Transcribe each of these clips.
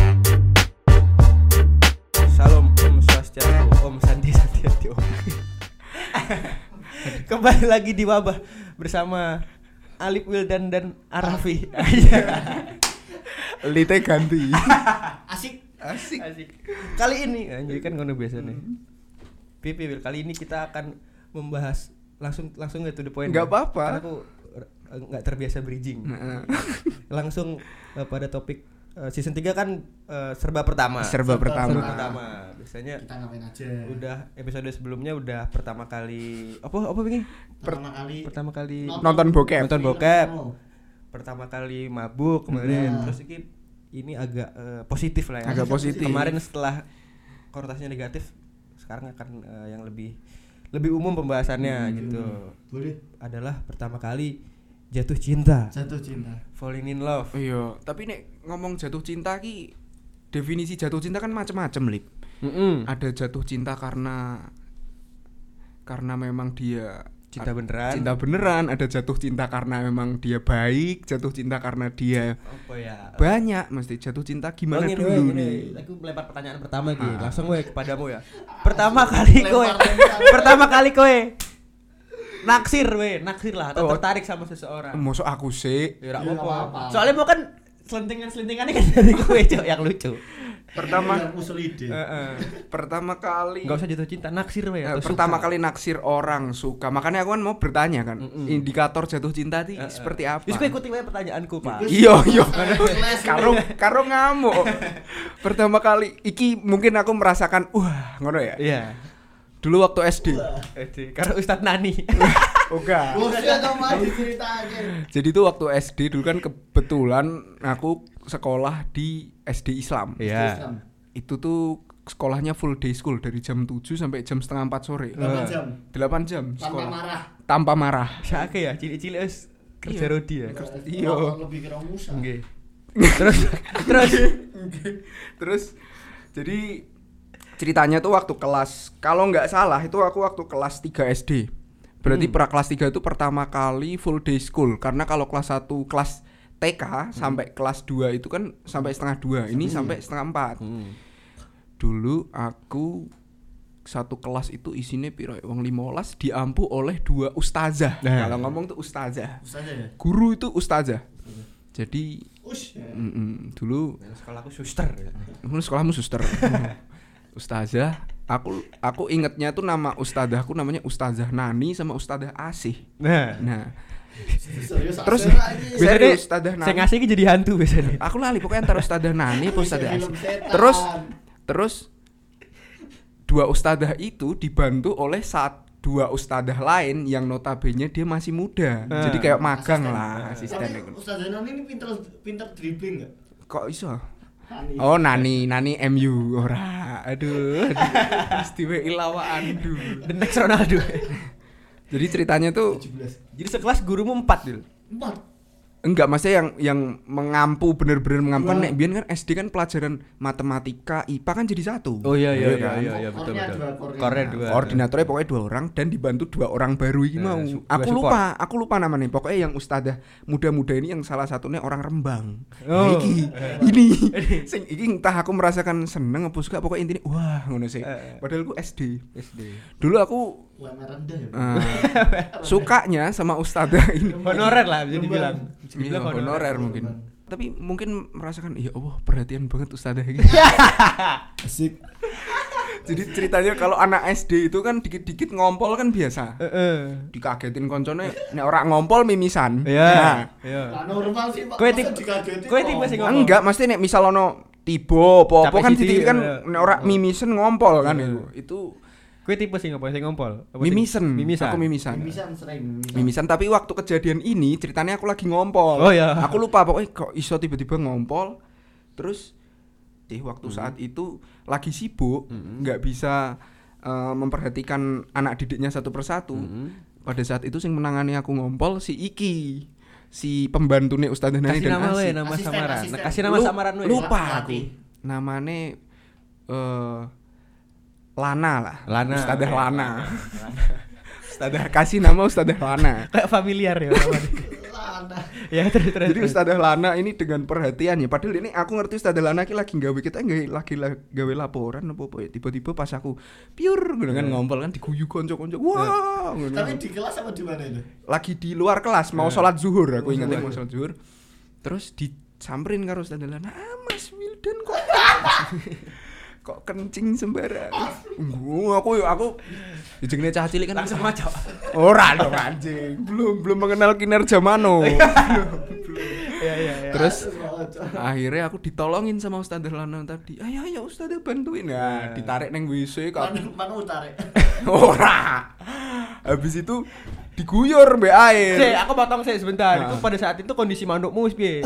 kembali lagi di wabah bersama Alip Wildan dan Arafi. Iya. Aja. Lite ganti. Asik. Asik. Asik. Kali ini anjir kan ngono biasanya. Mm-hmm. Pipi Wil, kali ini kita akan membahas langsung langsung ya to the point. Nggak ya. apa-apa. Karena aku er, nggak terbiasa bridging. Nah, langsung eh, pada topik eh, season 3 kan eh, serba pertama. Serba serba pertama. pertama. Biasanya kita ngapain aja udah episode sebelumnya udah pertama kali oh, apa apa ini? pertama kali Oh, Pertama kali Nonton bokep. Nonton bokep. Pertama kali mabuk kemarin Hmm. terus ini ini agak eh, positif lah ya. Agak positif. Kemarin setelah konotasinya negatif sekarang akan eh, yang lebih lebih umum pembahasannya gitu. boleh Adalah pertama kali jatuh cinta, jatuh cinta falling in love. Iya, tapi nek ngomong jatuh cinta ki definisi jatuh cinta kan macam-macam, Lip. Mm-mm. Ada jatuh cinta karena karena memang dia Cinta beneran. cinta beneran, ada jatuh cinta karena memang dia baik, jatuh cinta karena dia apa ya? banyak, mesti jatuh cinta Oh, gimana gini, dulu gini. nih. Aku melempar pertanyaan pertama gitu. Ah. Langsung gue kepadamu ya. Pertama kali Lempar kowe. tembak. pertama kali kowe. Naksir we, naksir lah atau Oh. tertarik sama seseorang. Mosok aku sih Ya ora Ya, apa-apa. apa-apa. Soalnya mau kan selentingan-selentingannya kan dari kowe, Cok, yang lucu. Pertama- Yang usul Eh, ide Heeh. pertama kali Enggak Iya. usah jatuh cinta, naksir we Eh, atau pertama suka. kali naksir orang suka makanya aku kan mau bertanya kan Mm-mm. indikator jatuh cinta itu Heeh. seperti apa Wis kowe ikuti wae pertanyaanku, Pak. iya iya Les. karo karo ngamuk pertama kali iki mungkin aku merasakan wah ngono ya Iya. dulu waktu SD Ede, Karo Ustadz Nani. oga Bosnya atau mau diceritain jadi tuh waktu SD dulu kan kebetulan aku sekolah di SD Islam Iya. Islam. itu tuh sekolahnya full day school dari jam 7 sampai jam setengah 4 sore Delapan jam 8 jam tanpa Eh, sekolah marah tanpa marah Saiki ya, cilik-cilik wis kerja Iya. rodi ya. Iya. Oh, lebih kira musa Nggih. Terus terus Terus jadi ceritanya tuh waktu kelas kalau nggak salah itu aku waktu kelas 3 SD. Berarti Hmm. pra kelas 3 itu pertama kali full day school karena kalau kelas 1 kelas TK Hmm. sampai kelas 2 itu kan sampai setengah 2. Ini sampai iya. setengah 4. Hmm. Dulu aku satu kelas itu isinya piro ya? wong 15 diampu oleh dua ustazah. Nah. Kalau ngomong tuh ustazah. Musa aja ya Guru itu ustazah. Hmm. Jadi ush mm-mm, dulu Nah, sekolah aku suster. Menurut sekolahmu suster. Ustazah, aku aku ingetnya tuh nama ustazahku namanya Ustazah Nani sama Ustazah Asih. Nah, Nah, serius Terus- asal lagi. biasanya Serius, Ah. dia- Ustazah Nani. saya ngasih ini jadi hantu biasanya. aku lali pokoknya antara Ustazah Nani apa Ustazah Film Asih. setan. Terus terus dua ustazah itu dibantu oleh saat dua ustazah lain yang notabene dia masih muda. Eh. Jadi kayak magang Asisten. Ah. lah asisten. tapi Ustaz Zainal ini pinter pinter dribbling nggak Kok iso? Tani. Oh Nani, Nani MU ora. Aduh, aduh. Mesti wae ilawaan dulu. The next Ronaldo. Jadi ceritanya tuh 17 jadi sekelas gurumu empat dil. empat enggak maksudnya yang yang mengampu bener-bener mengampu kan Wah. nek biyen kan SD kan pelajaran matematika IPA kan jadi satu. Oh kan? Oh, iya, betul, Kornya betul. Kornya Nah, dua. koordinatornya pokoknya dua orang dan dibantu dua orang baru ini Nah, mau. su- dua Aku lupa, aku lupa namanya. Pokoknya yang ustazah muda-muda ini yang salah satunya orang Rembang. Oh. Nah, iki, ini, sing iki entah aku merasakan seneng apa suka pokoknya intinya wah ngono sih. Eh. Padahal aku SD. SD. Dulu aku UMR rendah ya eh, sukanya sama ustazah ini. Honorer lah bisa dibilang. Bisa Iya, dibilang honorer mungkin. Tapi mungkin merasakan ya Allah perhatian banget ustazah ini. Ah. asik Jadi ceritanya kalau anak SD itu kan dikit-dikit ngompol kan biasa. Heeh. Dikagetin koncone nek ora ngompol mimisan. Iya. Nah, Iya. Nah, normal sih Pak. Kue Masa tipe- digagetin kue kok. tipe sing- ngompol. enggak mesti nek misal ono tiba apa-apa Capek kan sithik, titik kan iya. nek ora mimisan ngompol kan Iya. itu. Itu Kue tipe sih ngompol, sing ngompol. Apa sing- mimisan. Mimisan. Aku mimisan. mimisan sering Hmm. mimisan. Mimisan tapi waktu kejadian ini ceritanya aku lagi ngompol. Oh, iya. Aku lupa pokoknya kok iso tiba-tiba ngompol. Terus eh waktu Hmm. saat itu lagi sibuk, nggak bisa eh, memperhatikan anak didiknya satu persatu. Hmm. Pada saat itu sing menangani aku ngompol si Iki, si pembantunya Ustadzah Nani Kasih dan nama Asi. we, nama Asisten, samaran. asisten. Nah, Kasih nama Nah, Lu- samaran we. Lupa Lati. aku. Namane eh, Lana lah. Lana. Eh, Ustadzah Oke. Lana. Ustadzah kasih nama Ustadzah Lana. Kayak familiar ya. namanya. Lah, Lana. ya terus terus. Jadi terus. Ustazah Lana ini dengan perhatiannya Padahal ini aku ngerti Ustazah Lana ki lagi gawe kita nggak lagi la- gawe laporan apa apa ya. Tiba-tiba pas aku piur gitu kan ngompol kan diguyu konco-konco. Wah. ngono. kan. Tapi di kelas apa di mana itu? lagi di luar kelas Eh. mau sholat zuhur aku Mau ingat sholat. mau sholat zuhur. Terus disamperin karo Ustazah Lana. Ah Mas Wildan kok kok kencing sembarangan. Gua aku aku jenenge cah cilik kan langsung aja. Pak. Ora dong anjing. Belum belum mengenal kinerja Mano. Iya iya iya. Terus Semangat, Cok. akhirnya aku ditolongin sama Ustadzah Lana tadi ayo ayo Ustadzah bantuin nah Nah. ditarik neng WC Mana kan mana utare? ora habis itu diguyur mbak Sih, air aku potong saya sebentar. Iya. Nah. Itu pada saat itu kondisi mandukmu wis piye?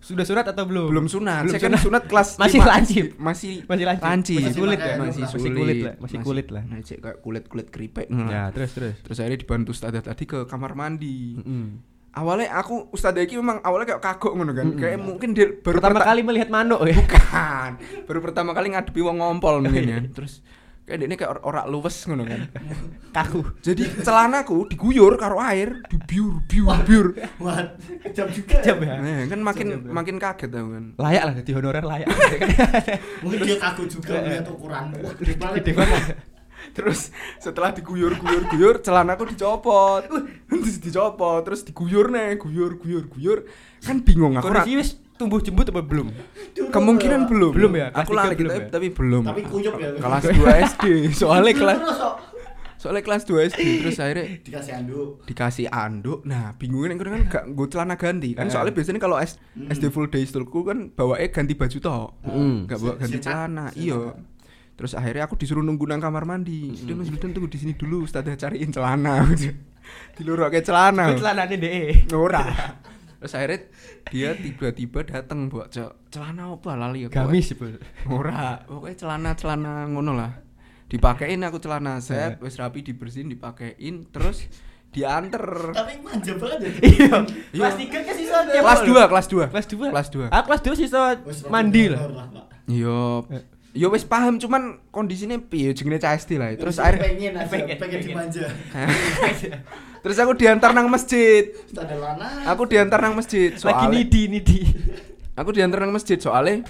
Sudah sunat atau belum? belum sunat Belum saya kan sunat kelas Masih lima. lancip. masih Masih lancip. Masih sulit ya? masih Masih sulit kulit lah, masih kulit lah. Nah, cek kayak kulit kulit keripik Nah. Ya, terus terus. terus akhirnya dibantu Ustadzah tadi ke kamar mandi Mm-mm. awalnya aku Ustadzah ini memang awalnya kayak kagok ngono kan kayak mungkin dia baru Pertama perta- kali melihat manuk ya. Bukan. Baru pertama kali ngadepi wong ngompol mungkin ya. Terus kayak dia ini kayak or- ora luwes ngono kan. Kaku. Jadi celanaku diguyur karo air, dibiur, biur, biur. What? Kejam juga. Kejam ya. Nah, kan makin makin kaget aku kan. Layak lah di honorer layak. kan Mungkin dia kaku juga melihat ukuran. Wah, Gede banget. Gede banget. Terus setelah diguyur, guyur, guyur, celanaku dicopot. Terus dicopot, terus diguyur nih, guyur, guyur, guyur. Kan bingung aku. ra- Kondisi wis tumbuh jembut apa belum? Dulu Kemungkinan ya. belum. Belum ya? Kelas Aku tiga lali belum tapi, ya? tapi belum. Tapi kuyup ya. Kelas 2 SD. Soalnya Dulu kelas Terus Cok. soalnya kelas 2 SD terus akhirnya dikasih anduk. dikasih anduk nah bingungnya yang kan gak gue celana ganti kan Eh. soalnya biasanya kalau S- Hmm. SD full day schoolku kan bawae ganti baju toh Hmm. gak bawa ganti Sikat. celana Sikat. iya terus akhirnya aku disuruh nunggu nang kamar Hmm. mandi udah mas Wildan tunggu di sini dulu ustazah cariin celana dilorokke celana Celanane DE. ora terus akhirnya dia tiba-tiba datang bawa ce- celana apa lali aku Gamis, Bro. ora pokoknya celana celana ngono lah dipakein aku celana set Eh. wis rapi dibersihin dipakein terus dianter Tapi manja banget ya. Iya. Kelas 3 ke siswa deh. kelas Pak. 2 kelas 2 Kelas 2. kelas 2 Ah, kelas 2 siswa Wes, rokok mandi donor lah. Pak. yo Eh. yo wis paham cuman kondisinya piye jenenge CSD lah terus Terus akhir pengen aja, pengen, pengen pengen. dimanja. terus aku diantar nang masjid Standar lana. aku diantar nang masjid Lagi soalnya nidi nidi. aku diantar nang masjid soalnya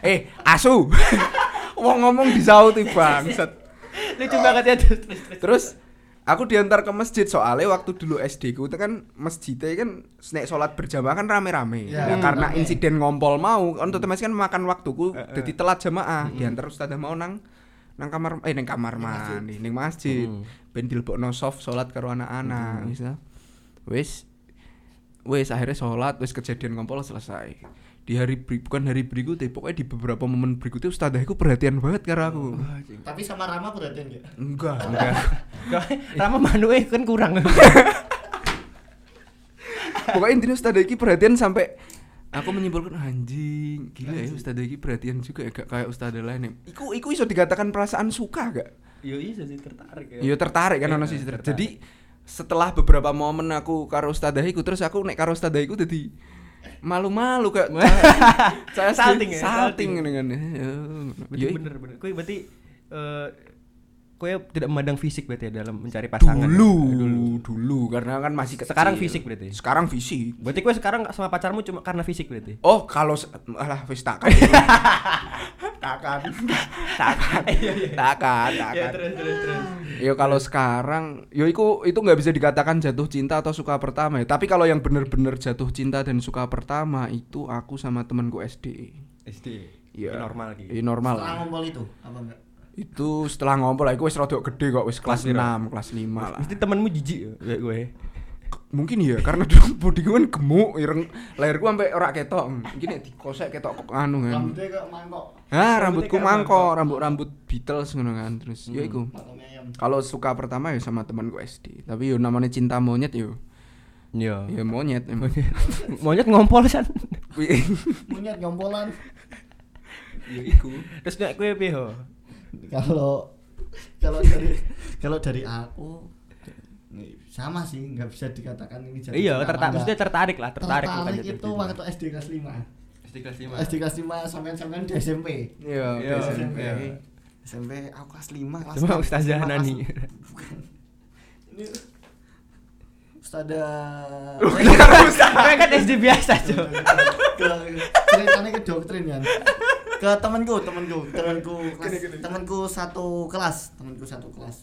eh asu wong ngomong disauti bangsat Lucu banget ya terus terus. terus. terus aku diantar ke masjid soalnya waktu dulu SD ku itu kan masjidnya kan snack sholat berjamaah kan rame-rame Ya, Nah, hmm, karena rame. insiden ngompol mau kan otomatis kan makan waktuku Eh, eh. jadi telat jamaah diantar ustazah mau nang nang kamar eh nang kamar mandi nang masjid ben dilebokno soft sholat karo anak-anak wis lah. wis wis akhirnya sholat wis kejadian ngompol selesai di hari beri- bukan hari berikutnya pokoknya di beberapa momen berikutnya ustazahku perhatian banget karo aku Tapi sama Rama perhatian enggak? enggak Enggak. Rama manuke kan kurang. Pokoknya intinya Ustadz Eki perhatian sampai aku menyimpulkan anjing gila ya Ustadz Eki perhatian juga ya gak kayak Ustadz lain ya. Iku iku iso dikatakan perasaan suka gak? Yo iya sih tertarik Iya tertarik kan Iya, ono sisi ter- tertarik. Jadi setelah beberapa momen aku karo Ustadz Eki terus aku nek karo Ustadz Eki jadi malu-malu kayak saya Salting salting Iya. ya, salting. salting dengan Berarti bener bener. Kowe berarti eh kowe tidak memandang fisik berarti ya dalam mencari pasangan. dulu ya? Dulu. dulu karena kan masih kecil. Sekarang fisik berarti? sekarang fisik Berarti kowe sekarang sama pacarmu cuma karena fisik berarti. Oh, kalau se- alah wis takkan. takkan. takkan. takkan, takkan. Iya, terus terus terus. Yo kalau sekarang, yo iku itu nggak bisa dikatakan jatuh cinta atau suka pertama ya. Tapi kalau yang bener-bener jatuh cinta dan suka pertama itu aku sama temanku SD. SD. Iya. Normal gitu. Iya normal lah. Setelah ngompol itu apa enggak? Itu setelah ngompol lah, iku wis rodok gede kok wis kelas Kelas piro? 6, kelas 5 lah. Mesti temanmu jijik ya kayak gue. Mungkin ya karena dulu body gue kan gemuk, ireng, lahirku sampai ora ketok. Gini dikosek ketok kok anu kan. Rambutnya kayak mangkok. Ah, Rambutnya rambutku kayak Hmm. mangkok, rambut-rambut Beatles ngono kan. Terus ya iku. Mangkoknya ayam. Kalau suka pertama ya sama temanku SD. Tapi yo namanya cinta monyet yo. Iya. Ya monyet emang. Monyet ngompol san. Wi- Monyet nyompolan. ya iku. Terus nek kowe piye ho? Kalau kalau dari kalau dari aku nih, sama sih nggak bisa dikatakan ini jatuh Iya, cinta apa tertarik. enggak. Maksudnya tertarik lah, tertarik bukan tertarik jatuh itu cinta. waktu SD kelas 5 SD kelas SD kelas 5 sampean-sampean di SMP Iya, Iya, oke. SMP. Iya. SMP aku kelas 5 kelas Cuma enam, Ustazah kelas- Nani. bukan ini Ustada Kayak kan SD biasa cok ke ceritanya ke doktrin kan ke temanku temanku temanku kelas, temanku satu kelas temanku satu kelas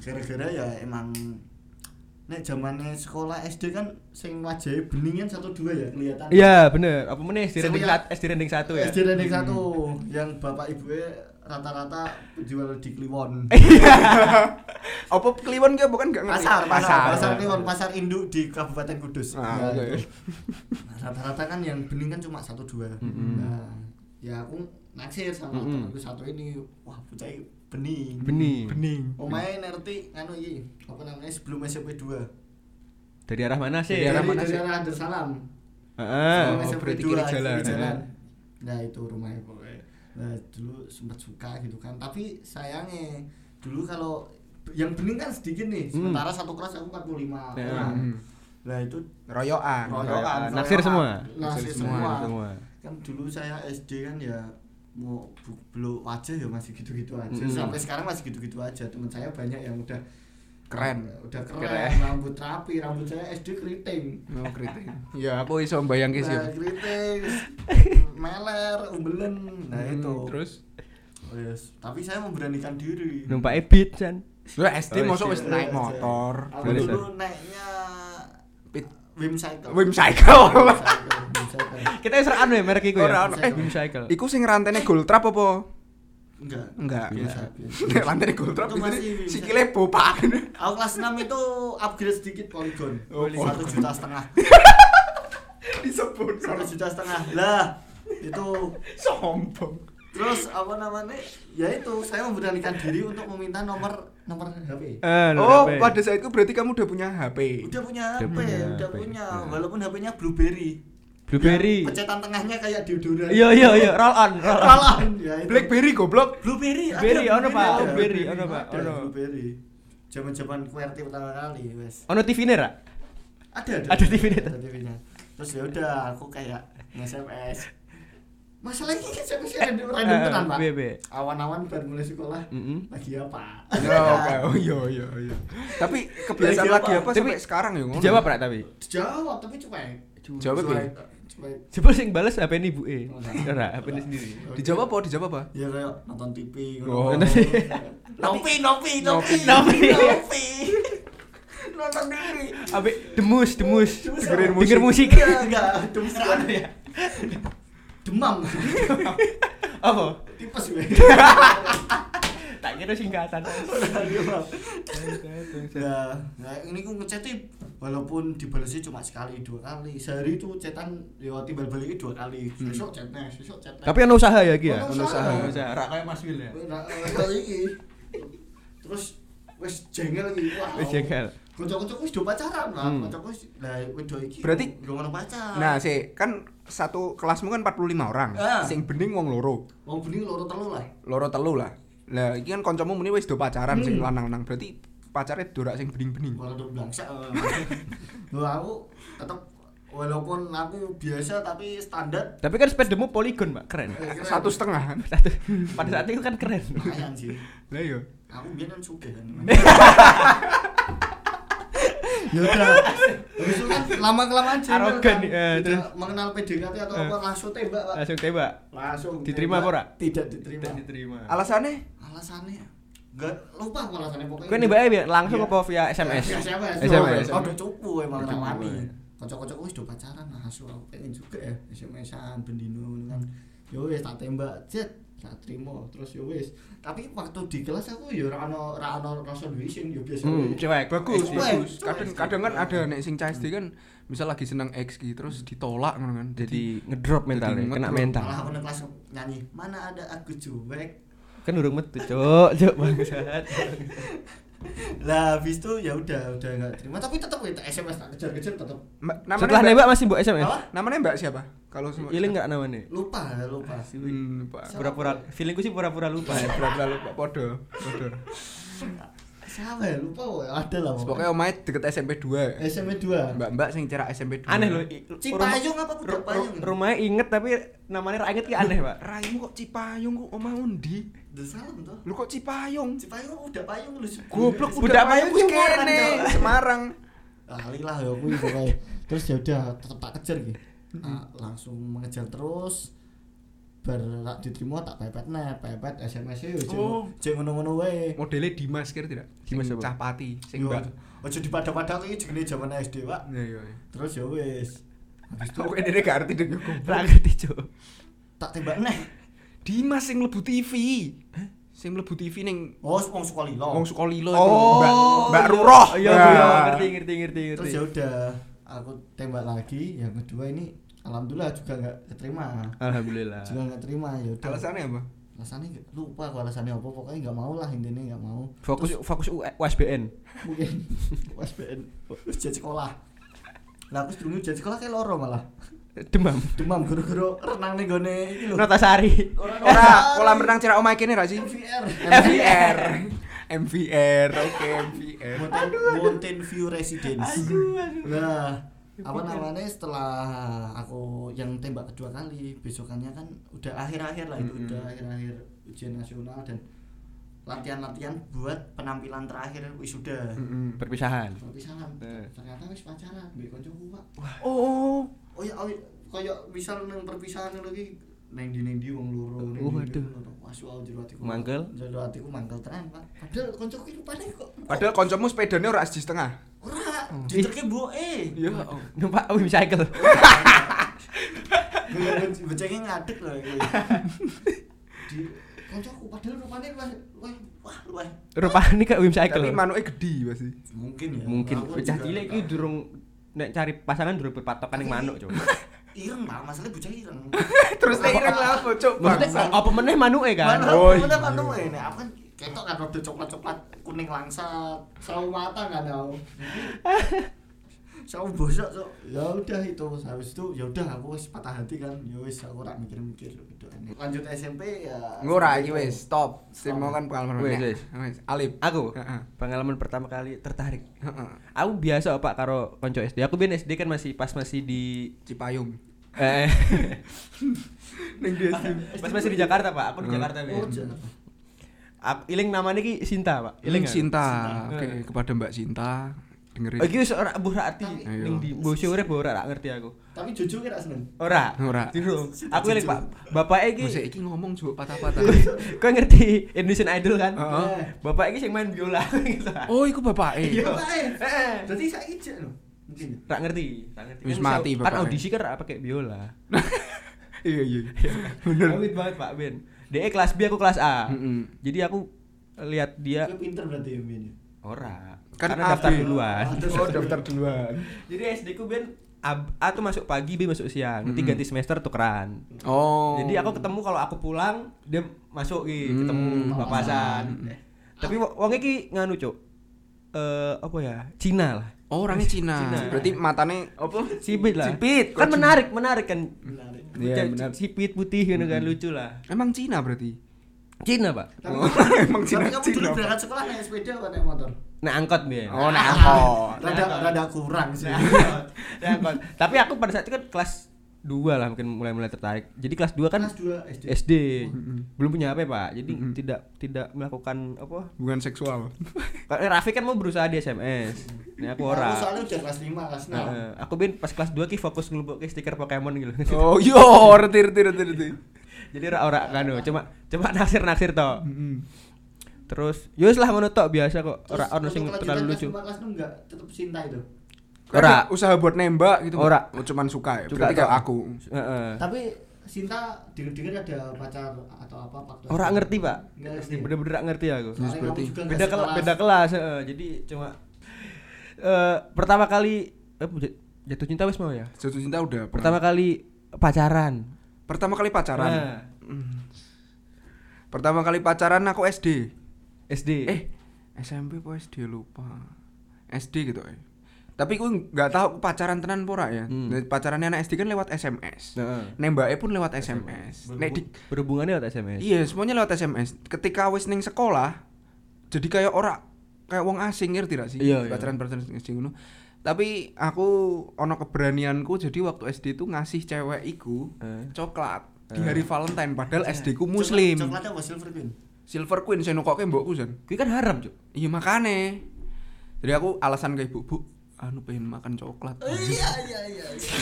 gara-gara ya emang nek zamannya sekolah SD kan sing wajahnya bening kan satu dua ya kelihatan Iya bener Apa mana SD rending Saya- sat- SD rending satu ya SD Rendeng satu yang bapak ibunya rata-rata jual di Kliwon Eh, Apa kliwon ki bukan gak ngerti. pasar Pasar. pasar pasar Kliwon pasar induk di Kabupaten Kudus Ah, Ya, iya, iya. itu. Nah, rata-rata kan yang bening kan cuma satu dua nah ya aku naksir sama Mm-mm. temanku satu ini wah bocah ini bening Bening omae nerti nganu iki apa namanya sebelum SMP 2 Dari arah mana sih? Dari arah mana dari sih? arah Darussalam Heeh. Sebelum Ah, Oh, SMP berarti dua, kiri kiri jalan eh. Nah itu rumahnya pokoknya. Nah dulu sempat suka gitu kan, tapi sayangnya dulu kalau yang bening kan sedikit nih. Hmm. Sementara satu kelas aku 45 Ya. orang. Hmm. Nah itu Royokan. royokan, Royokan. Oh, iya. Naksir semua? Naksir Oh, Naksir semua. semua, Kan dulu saya SD kan ya mau bu- belok aja ya masih gitu-gitu aja. Mm-mm. Sampai sekarang masih gitu-gitu aja. Teman saya banyak yang udah Keren. udah keren, Keren. rambut rapi, rambut saya SD keriting. No kritik. Ya aku iso mbayangke sih. Nah, keriting, meler, umbelen. Nah Hmm, itu. Terus Oh, yes. Tapi saya memberanikan diri. Numpak ebit kan lu SD Oh, mosok SD. wis naik Nah. motor. Aku Boleh, dulu naiknya Pit- Wim Cycle. Wim cycle. Cycle, Wim Cycle. Kita wis ora anu ya merek iku ya Ora, ora. Eh. Beam cycle Iku sing rantene gold trap apa? Enggak. Enggak. Biasa, Nek rantene gold trap Itu masih itu bisa. sikile bopak. Aku kelas 6 itu upgrade sedikit poligon. Oh, Satu juta setengah. Disebut Satu juta setengah. Lah, itu sombong. terus apa namanya? Ya itu saya memberanikan diri untuk meminta nomor nomor HP. Eh, lu Oh, berapa? pada saat itu berarti kamu udah punya HP. Udah punya Udah HP, punya udah HP. punya. Ya. Walaupun HP-nya Blueberry. Blueberry. Yang Pencetan tengahnya kayak deodoran. Iya iya iya roll on roll on. Malahan ya itu. Blackberry goblok. Blueberry, ada Blueberry, ono, Pak. ada, Blueberry, ono, Pak. ada, Ono. Blueberry. Zaman-zaman QWERTY pertama kali, wes. Ono TV-ne ra? Ada, ada. Ada TV-nya. Ada TV-nya. Terus ya udah, aku kayak nge-SMS. Masalahnya kan SMS kan random random eh, tenan, Pak. iya, iya. Awan-awan baru mulai sekolah. Mm-mm. Lagi apa? Ya, oke. Oh iya iya iya. Tapi kebiasaan Lagi apa? lagi apa Tapi sampai sekarang ya ngono? Dijawab ra tapi? Jawab tapi cuek. Jawab ya? Cuek, Cuek. Jebul sing bales HP ini ibuke. Ora, HP ini Ora. sendiri. Dijawab apa? Dijawab apa? Ya kayak nonton TV Oh. ngono. Nopi, nopi, nopi, Nopi. nopi. Nonton TV. Abe demus demus. Demus Dengerin apa? musik. Iya. Denger musik. Enggak, enggak, demus kan ya. Demam. Apa? Tipes gue. Tak kira singkatan. Nah, nah, ini ku ngechat tuh walaupun dibalesnya cuma sekali dua kali. Sehari itu chatan ya timbal baliknya dua kali. Besok chat next, besok chat next. Tapi ono usaha ya iki ya. Ono usaha. Ono usaha. Ra kayak Mas Wil ya. Wih, nah, eh, kali ini. Terus wes jengel iki. Wah. Wis jengkel. Kocok-kocok wis do pacaran lah. Hmm. Kocok wis lah wedo iki. Berarti- yo ngono pacar. Nah, sih kan satu kelasmu kan 45 orang. Ah. Sing bening wong loro. wong bening loro telu lah. Loro telu lah. Lah iki kan kancamu muni wis do pacaran sing lanang-lanang. Berarti pacarnya dorak sing bening-bening. Walaupun blangsa. Lho eh. aku tetep walaupun aku biasa tapi standar Tapi kan sepedamu poligon, Pak. Keren. eh, keren. Satu setengah kan. Satu. Pada saat itu kan keren. lumayan sih. Lah iya. Aku biar kan suka kan. ya udah. Habis itu kan lama kelamaan jengkel Arogan, kan. eh, Tidak terus. mengenal PDKT atau Eh. apa langsung tembak, Pak. Langsung tembak. Langsung. Diterima apa tembak. ora? Tidak diterima. Tidak diterima. Alasannya Alasannya enggak lupa aku alasannya pokoknya. Kowe nembake piye? Langsung Iya. apa via SMS? Ya, SMS. SMS. Oh, udah cupu emang Udah tak wani. cupu, ya. Kocok-kocok wis do pacaran nah asu aku pengen juga ya SMS-an bendino ngono kan. Hmm. Yo wis tak tembak, jet. Tak terima terus yo wis. Tapi waktu di kelas aku yo ora ono ora ono rasa duisin yo biasa. Hmm, wae. cewek. bagus, Cuek, bagus. cuek. Kadang kadang kan ada nek sing CSD kan misal lagi seneng X ki terus ditolak ngono kan. Jadi Jadi ngedrop mentalnya, Jadi kena ngedrop. mental. Malah aku nang kelas nyanyi. Mana ada aku cuek. Kan urung metu, Cuk. Cuk, bangsat. Lah habis itu ya udah udah enggak terima tapi tetap ya tak SMS tak kejar-kejar tetap Ma- Setelah Mbak- nembak masih mbok SMS. Apa? Namanya Mbak siapa? Kalau semua Iling enggak namanya? lupa lupa. Hmm, Pak. Pura-pura. Feelingku sih pura-pura lupa. ya. Pak, berapa lalu Pak Podo? Podo. Siapa ya lupa woy. ada lah. woy. Pokoknya omae deket SMP 2. SMP 2. Mbak-mbak sing cerak SMP 2. Aneh iya. loh. Cipayung apa Ru- Budapayung? ru- rumahnya inget tapi namanya ra inget ki aneh pak Raimu kok Cipayung kok omah undi? Salam toh. Lu kok Cipayung? Cipayung udah payung lu. Goblok Budak Budapayung Payung wis Semarang, kene Cok. Semarang. lali lah ya aku pokoknya terus ya udah tetap tak kejar gitu Ah, langsung mengejar terus bar tak diterima tak pepet nih pepet SMS yo cek Oh. cek ngono-ngono wae modelnya Dimas Iya. kira tidak Dimas Sing apa? Capati sing Yo, mbak ojo dipadah-padah iki jenenge zaman SD Pak ya ya ya. terus ya wis habis itu aku ini dia gak ngerti deh gue goblok. Ra ngerti, Cuk. tak tembak neh Dimas sing mlebu TV sing mlebu TV ning oh wong sekolah lilo wong Sukolilo itu, Oh, Mbak Mbak iya. Ruroh Iya, Nah. iya, ngerti, ngerti, ngerti, ngerti. terus ya udah aku tembak lagi yang kedua ini alhamdulillah juga nggak keterima Alhamdulillah. juga nggak terima ya udah alasannya apa alasannya nggak- lupa aku alasannya apa pokoknya nggak mau lah intinya nggak mau Fokus fokus U- USBN. mungkin USBN ujian sekolah lah aku sebelumnya ujian sekolah kayak loro malah Demam. demam guru-guru renang nih gone ini loh Notasari. ora kolam renang cerak omah kene ra sih VR MVR MVR oke MVR Mountain, Mountain View Residence nah apa ya. namanya setelah aku yang tembak kedua kali besokannya kan udah akhir-akhir lah itu Mm-mm. udah akhir-akhir ujian nasional dan latihan-latihan buat penampilan terakhir wisuda Mm-mm. Perpisahan. perpisahan Mm. Eh. ternyata wis pacaran mbek kancaku Pak oh Oh ya, awi- kaya misal nang perpisahan ngono iki neng di neng di wong loro. neng Oh, ndi, aduh. neng loro. Wah, soal jero atiku. Mangkel. Jero atiku mangkel tenan, Pak. Padahal kancaku iki rupane kok padahal koncomu sepedanya ora siji setengah ora Oh. diterke mboke. iya Numpak motorcycle. Becenge ngadeg lho iki. Di kancaku padahal rupane luwih luwih wah luwih. Rupane kok motorcycle. tapi manuke gede pasti Mungkin ya. Mungkin Aku bocah juga cilik nggak iki tahu. durung nek cari pasangan durung berpatokan ning manuk, Cuk. ireng Pak, masalahnya bocah ireng. terus nek ireng lah apa cok Maksudnya bangsa apa meneh manuke Kan, kan? Oh, oh, iya. iya. Kan, ini aku kan ketok kan rada coklat-coklat kuning langsat, sawo mata kan aku. sawo bosok so. Ya udah itu habis itu ya udah aku wis patah hati kan. Ya wis aku ora mikir-mikir gitu. Lanjut SMP ya. Enggak ora iki wis stop. Sing Stop. mau kan pengalaman Wis, meneh. wis. Wis. Alip. Aku Heeh. pengalaman pertama kali tertarik. Heeh. Aku biasa Pak karo konco SD. Aku biyen SD kan masih pas masih di Cipayung. eh Ning pas masih di Jakarta, Pak. Hmm. Aku di Jakarta biyen. Oh, jangan. Aku iling namanya ki Sinta, Pak. Eling kan? Hmm, Sinta. Sinta. Oke, kepada Mbak Sinta dengerin. Oh, Iki wis ora mbuh ra ati Ayo. ning di mbuh urip ora ra ngerti aku. Tapi jujur kira seneng. Ora. Ora. Durung. Aku eling Pak. Bapake iki Musik iki ngomong juga patah-patah. Kau ngerti Indonesian Idol kan? Heeh. Bapak ini yang main biola gitu. Ra Oh, iku bapake. Iya. Heeh. Heeh. Dadi saiki jek lho. Mungkin. ngerti, rak ngerti. Wis Kan mati bisa- Kan bapaknya. audisi kan rak pakai biola. Iya, iya. Bener. banget Pak Ben. Dia kelas B aku kelas A. Mm-mm. Jadi aku lihat dia Aku pinter berarti ya Bin. Hmm. ora. Kan Karena daftar AB. duluan. Oh, daftar duluan. Jadi SD ku Ben A, A tuh masuk pagi, B masuk siang. Nanti Mm-mm. ganti semester tukeran. Hmm. Oh. Jadi aku ketemu kalau aku pulang dia masuk ki Hmm. ketemu Papasan. papasan. Tapi wo- wong iki nganu, Cuk. Eh apa ya? Cina lah. Oh, orangnya Cina. Cina. Berarti matane apa? Sipit lah. Sipit. Kan menarik, menarik kan. Menarik. Iya, Hmm. Cewek- benar. Sipit putih gitu kan lucu lah. Emang Cina berarti. Cina, Pak. Tapi, Oh, emang tapi kamu Cina-Cina, dulu Pak. berangkat sekolah naik sepeda apa naik motor? Ah, Nah, angkot biar. Oh, nek angkot. rada rada kurang sih. angkot. Tapi aku pada saat itu kan kelas 2 lah mungkin mulai-mulai tertarik. Jadi kelas 2 kan Kelas 2 SD. SD. Belum punya HP, Pak. Jadi Mm-mm. tidak tidak melakukan apa? Hubungan seksual. Kalau Raffi kan mau berusaha di SMS. Nah, aku ora. Eh, Aku soalnya udah kelas 5, kelas 6. Heeh. aku bin pas kelas 2 ki fokus ngelumpuk stiker Pokemon gitu. Oh, yo, reti reti reti reti. Jadi ora ora kanu, cuma cuma naksir-naksir toh. Heeh. Terus yo wis lah ngono tok biasa kok. Terus Ora ono untuk sing kelanjutan terlalu kelas lucu. lima, kelas 6 enggak tetep cinta itu. Ora. Ada usaha buat nembak gitu. Ora. Oh, cuman suka ya. Suka, Berarti kayak Pak. aku. Heeh. Tapi Sinta denger-denger ada pacar atau apa Pak? Ora ngerti, Pak. Enggak ngerti. Bener-bener nggak ngerti aku. Soalnya kamu berarti juga Beda kelas, nggak sekelas. beda kelas, heeh. Jadi cuma eh pertama kali eh, jatuh cinta wis mau ya. Jatuh cinta udah. pernah. Pertama kali pacaran. Pertama kali pacaran. Hmm. Nah, Pertama kali pacaran aku SD. SD. Eh, SMP apa SD lupa. SD gitu eh. Tapi aku nggak tahu aku pacaran tenan apa ora ya. Hmm. Nah, Pacarannya anak SD kan lewat SMS. Heeh. Nembaknya pun lewat SMS. Nek di- Berhubungannya lewat SMS. iya semuanya lewat SMS. Ketika wis ning sekolah, jadi kayak ora kayak wong asing ngerti tidak sih? Iya, iya. pacaran pacaran SD ngono. Tapi aku ono keberanianku jadi waktu SD itu ngasih cewek iku Eh. coklat di Eh. hari Valentine padahal SD ku muslim. Coklat- Coklatnya apa silver queen? Silver Queen saya nukoke mbokku Zan. Kuwi kan haram, Cuk. Iya makane. Jadi aku alasan ke ibu, "Bu, anu pengen makan coklat Oh, iya iya iya iya.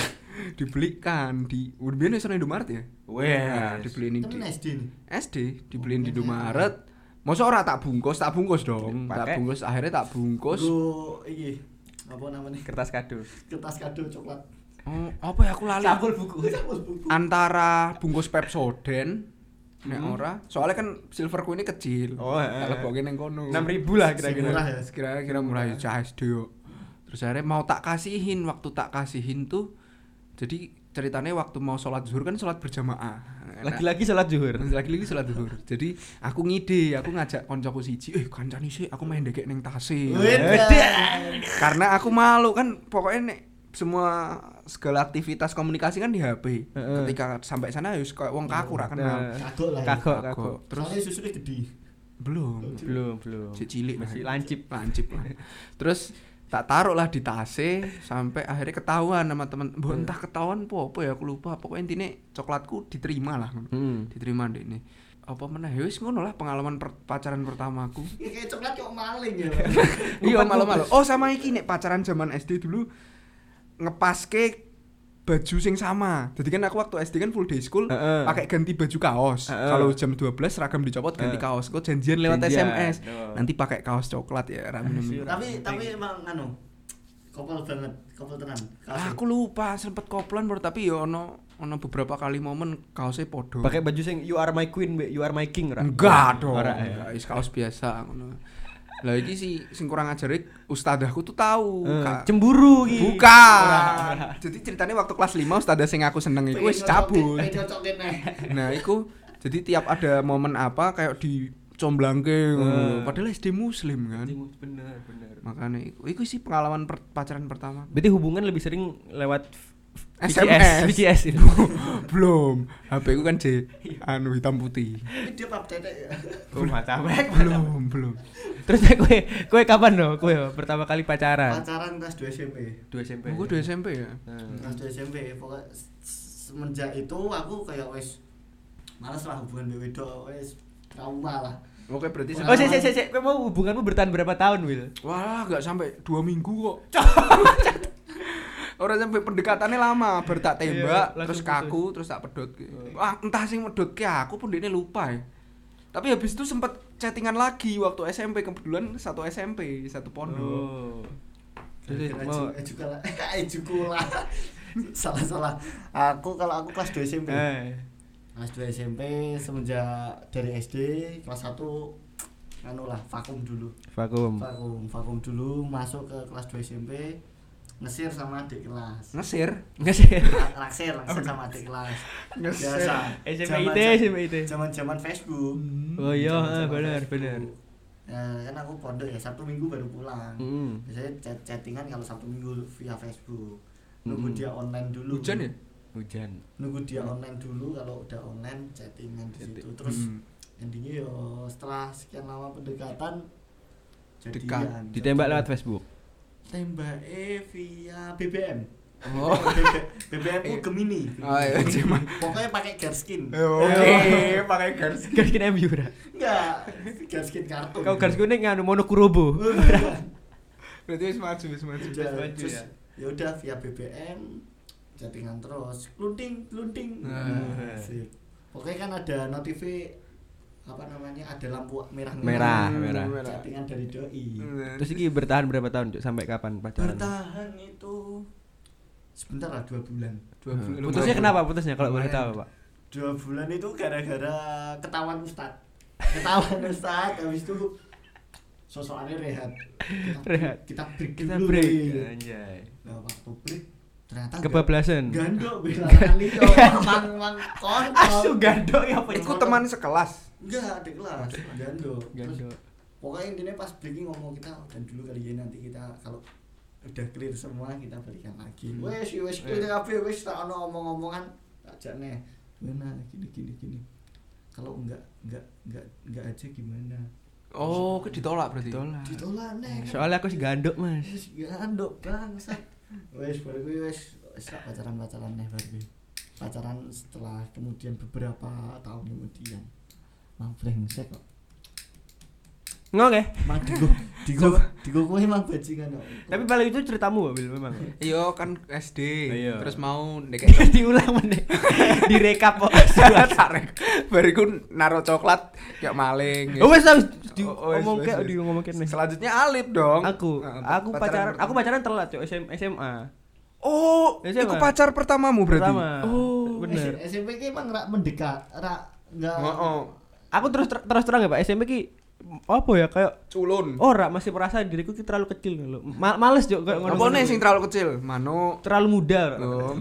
dibelikan di udah biasa di Indomaret ya Nah, Wes. dibeliin di temen SD nih SD dibeliin Oh, di iya. Indomaret masa ora tak bungkus tak bungkus dong Pakai. tak bungkus akhirnya tak bungkus Gua iki apa namanya Kertas kado. kertas kado coklat oh, apa ya aku lali Sampul buku. Terus buku antara bungkus Pepsoden nek ora soalnya kan silverku ini kecil Hmm. Oh, eh, eh. tak lebokin yang kono Enam ribu lah kira-kira. Murah ya. kira-kira murah ya cah SD yo. terus akhirnya mau tak kasihin waktu tak kasihin tuh jadi ceritanya waktu mau sholat zuhur kan sholat berjamaah Nah, Lagi-lagi sholat zuhur. lagi-lagi sholat zuhur jadi aku ngide aku ngajak koncoku siji eh kancane sih aku main dekek neng Oh, tase iya. Wedan. karena aku malu kan pokoknya nek semua segala aktivitas komunikasi kan di HP Heeh. ketika sampai sana ya kayak wong kaku ra Nah, kenal kagok lah ya. Kagok, Aku. kagok. terus soalnya susunya gede belum Belum, belum. si cilik Masih nah. lancip. lancip lah terus tak taruh lah di tase sampai akhirnya ketahuan sama teman Mbok, entah ketahuan apa apa ya aku lupa pokoknya intinya coklatku diterima lah Hmm. diterima deh ini apa meneh ya wis ngono lah pengalaman per- pacaran pertamaku Ya, kayak coklat kok maling ya iya malu malu oh sama iki nek pacaran zaman SD dulu ngepaske baju sing sama jadi kan aku waktu SD kan full day school Heeh. pakai ganti baju kaos Heeh. kalau jam 12 seragam dicopot ganti Heeh. kaos kok janjian lewat Janjian, SMS betul. nanti pakai kaos coklat Asyik. ya ramen tapi tapi emang anu kopel banget kopel tenan Ah, aku lupa sempet koplan baru tapi ya ono ono beberapa kali momen kaosnya podo Pakai baju sing you are my queen, be. you are my king, ra? enggak dong Ora, ya. enggak, is kaos biasa ngono lah iki sih sing kurang ajarik ustadahku tuh tahu Eh, Kak. Cemburu ki. bukan jadi ceritanya waktu kelas 5 ustadah sing aku seneng iku wis cabut cocokin nih nah iku jadi tiap ada momen apa kayak di comblangke Eh. ngono. padahal SD muslim kan Bener, bener. makanya iku iku sih pengalaman per- pacaran pertama Berarti hubungan lebih sering lewat SMS. VCS itu. belum HP ku kan J anu hitam putih tapi dia pap tetek ya Oh, Iya. macam belum belum Terus kue kue kapan dong kue pertama kali pacaran? pacaran kelas 2 SMP 2 SMP. Gue udah SMP ya Hmm. kelas 2 SMP pokoknya s- s- semenjak itu aku kayak wis males lah hubungan BW do wis trauma lah Oke berarti Oh, Oh, sekarang- sih sih sih, sih, kue mau hubunganmu bertahan berapa tahun, Will? Wah, nggak sampai dua minggu kok. Orang sampai pendekatannya lama, baru tak tembak, Iya, terus langsung Iya. kaku, terus tak pedot. Wah, entah sing medot ke aku pun dia lupa ya. Tapi habis itu sempet chattingan lagi waktu SMP kebetulan satu SMP satu pondok. Oh. Jadi Gara-gara eh, mau eju- ejukala ejukula salah salah aku kalau aku kelas 2 SMP eh kelas 2 SMP semenjak dari SD kelas 1 anu lah vakum dulu vakum. vakum vakum dulu masuk ke kelas 2 SMP ngesir sama adik kelas Ngesir. Enggak sih. Ra- raksir raksir sama adik kelas biasa SMIT, Zaman- SMIT. zaman zaman Facebook Oh iya, eh, Zaman-zaman ah, benar, Facebook. benar. Nah, kan aku pondok ya sabtu minggu baru pulang Mm. biasanya chat chattingan kalau sabtu minggu via Facebook nunggu Mm. dia online dulu Hujan ya? Hujan. nunggu dia online dulu kalau udah online chattingan di situ terus Hmm. endingnya yo setelah sekian lama pendekatan Dekat. jadian Ditembak lewat Facebook. tembak eh via BBM Oh. BBM ku Gemini Oh, iya, cuma. pokoknya pakai Gerskin Eh, Iya. Iya. Oke, pakai garis. Garskin MU ora. enggak Gerskin kartu Kau Garskin ini nganu monokurobo. Berarti wis maju, wis maju. Udah, baju terus ya. ya udah via BBM chattingan terus lunting lunting Nah. Asik. pokoknya kan ada notif apa namanya ada lampu merah Merah, Hmm, merah. Hmm. chattingan dari doi Terus ini bertahan berapa tahun, Cuk? Sampai kapan pacaran? bertahan itu sebentar lah dua bulan Dua Hmm. bulan. Putusnya kenapa putusnya kalau boleh Lumayan. tahu, Pak? dua bulan itu gara-gara ketahuan ustad ketahuan ustad habis itu sosokannya rehat kita Rehat. kita break Kita dulu break. nih. Iya, Anjay. nah waktu break ternyata Kebablasan. gandok Ah, bela kali yo mang mang Asu kontol gandok ya apa? Ikut teman sekelas. enggak ada kelas gandok Terus Gandok. pokoknya intinya pas breaking ngomong kita dan dulu kali ya nanti kita kalau udah clear semua kita balikan lagi wes wes clear kabeh wes tak ono omong-omongan aja nih gimana gini gini gini kalau enggak enggak enggak enggak aja gimana Oh, ke ditolak berarti. Ah. Ditolak. ditolak nih Soalnya aku sih gandok, Mas. wes gandok ya bangsat wes baru gue wes pacaran pacaran nih baru gue pacaran setelah kemudian beberapa tahun kemudian mang brengsek kok Ngoke. mang digo digo dikukuhi emang bajingan kok. Tapi paling itu ceritamu Bil memang. Iya kan SD. Iya. Terus mau ndek Diulang meneh. Direkap kok. tarik. Bariku naro coklat kayak maling. Oh wes harus Oh, oh, wes, diomongke wes, wes. diomongke nih. Selanjutnya Alip dong. Aku, Nah, aku pacaran, aku pacaran telat cok SM, SMA. Oh, Ya, siapa? itu pacar pertamamu berarti. Pertama. Oh. bener. S- SMP ki emang rak mendekat, rak enggak. Oh, oh. Aku terus ter- terus terang ya Pak, SMP ki apa ya kayak Culun. ora masih merasa diriku ki terlalu kecil loh. Ma- males cok kayak Apa nih sing Oh. terlalu kecil? Mano. terlalu muda. Rak. Belum.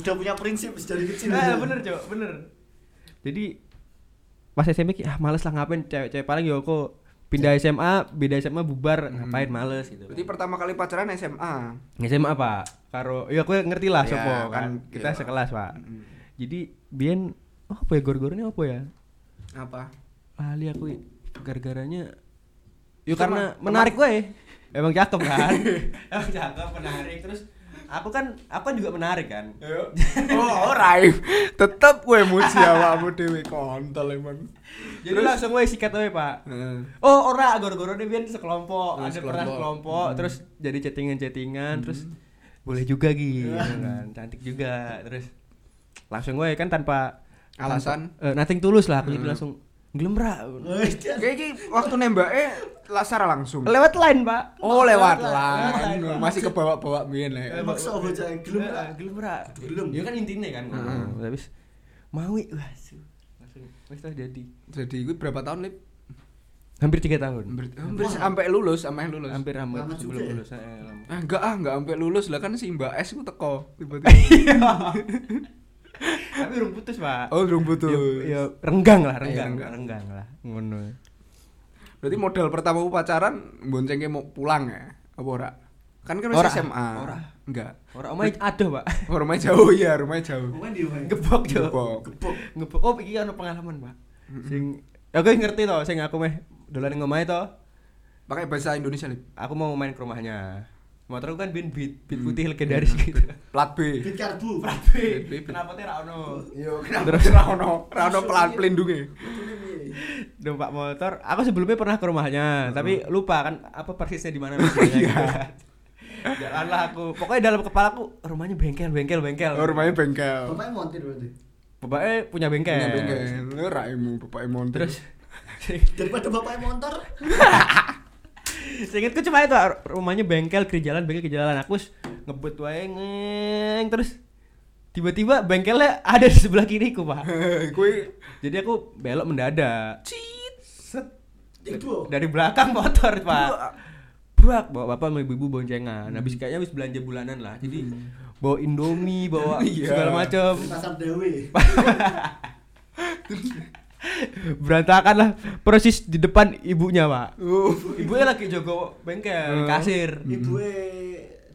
Udah punya prinsip dari kecil. Nah, bener cok, bener. Jadi pas SMP ki ah males lah ngapain cewek-cewek paling yo aku pindah SMA, beda SMA bubar, ngapain males gitu. Berarti pertama kali pacaran SMA. SMA apa? Karo ya aku ngerti lah Ya, sopo kan, kan. Kita iya. sekelas, Pak. Jadi biyen apa ya gor-gornya apa ya? Apa? Lali aku i. gara-garanya Itu Yuk karena mah- menarik gue. Emang cakep kan? Emang cakep, menarik terus aku kan aku kan juga menarik kan. Oh, Raif. Tetep gue muji awakmu dhewe kontol emang. Jadi langsung gue sikat aja, Pak. Heeh. Oh ora gor-gor ini biar sekelompok Oh, ada pernah sekelompok. sekelompok terus jadi chattingan-chattingan terus boleh juga gitu kan cantik juga terus langsung gue kan tanpa tanpa, Alasan? eh, nothing tulus lah aku jadi langsung gelem ra Wih, dia- Kayak gini, waktu nembaknya lasar langsung. lewat line pak Oh lewat Lewat line, lah, Pak. masih kebawa-bawa mien Eh, lah. Maksa bocah yang gelem Eh, ra. gelem ra Gelem. ya kan intinya kan Heeh. Nah, habis mau i, wah su. langsung wes terus jadi Jadi gue berapa tahun lip? hampir tiga tahun Hampir, hampir sampai lulus, sampai lulus. hampir hampir Lama juga sebelum ya? lulus eh, lama. Ah, enggak ah, enggak sampai lulus lah kan si Mbak S ku teko tiba-tiba. Iya. tapi belum putus pak oh, durung putus. Ya- ya, renggang lah, renggang, renggang. renggang lah. Ngono. Berarti modal pertama ku pacaran boncengnya mau pulang ya? Apa ora? Kan kan Ora. masih SMA. Ora. Enggak. Ora omahe adoh, Pak. Oh, rumahnya jauh ya, rumahnya jauh. Bukan di rumah. Gebok yo. Gebok. Gebok. Ngebok. Oh, iki ono pengalaman, Pak. Sing aku ngerti to, sing aku meh dolan ning omahe to. Pakai bahasa Indonesia lip. Aku mau main ke rumahnya. Motor aku kan bin beat, Hmm. beat putih legendaris gitu. Plat B. Bit karbu. Beat, beat. Kenapa teh ra ono? Yo, kenapa terus ra ono, ra ono pelan pelindungnya. Numpak motor. Aku sebelumnya pernah ke Hmm. rumahnya, tapi lupa kan apa persisnya di mana rumahnya. Iya. gitu kan. Jalanlah aku. Pokoknya dalam kepala aku rumahnya bengkel, bengkel, bengkel. Oh, rumahnya bengkel. Bapaknya montir berarti. Bapaknya punya bengkel. Punya bengkel. Lu raimu bapak montir. Terus Daripada bapaknya montor. Seingetku cuma itu rumahnya bengkel ke jalan bengkel ke jalan aku wis ngebut wae ngeng terus tiba-tiba bengkelnya ada di sebelah kiriku pak gue jadi aku belok mendadak set Ibu. dari belakang motor pak Brak, bawa bapak sama ibu-ibu boncengan habis kayaknya habis belanja bulanan lah jadi bawa indomie bawa Iya. segala macem Pasar Dewi. berantakan lah persis di depan ibunya pak uh, ibunya lagi jogo bengkel kasir Ibu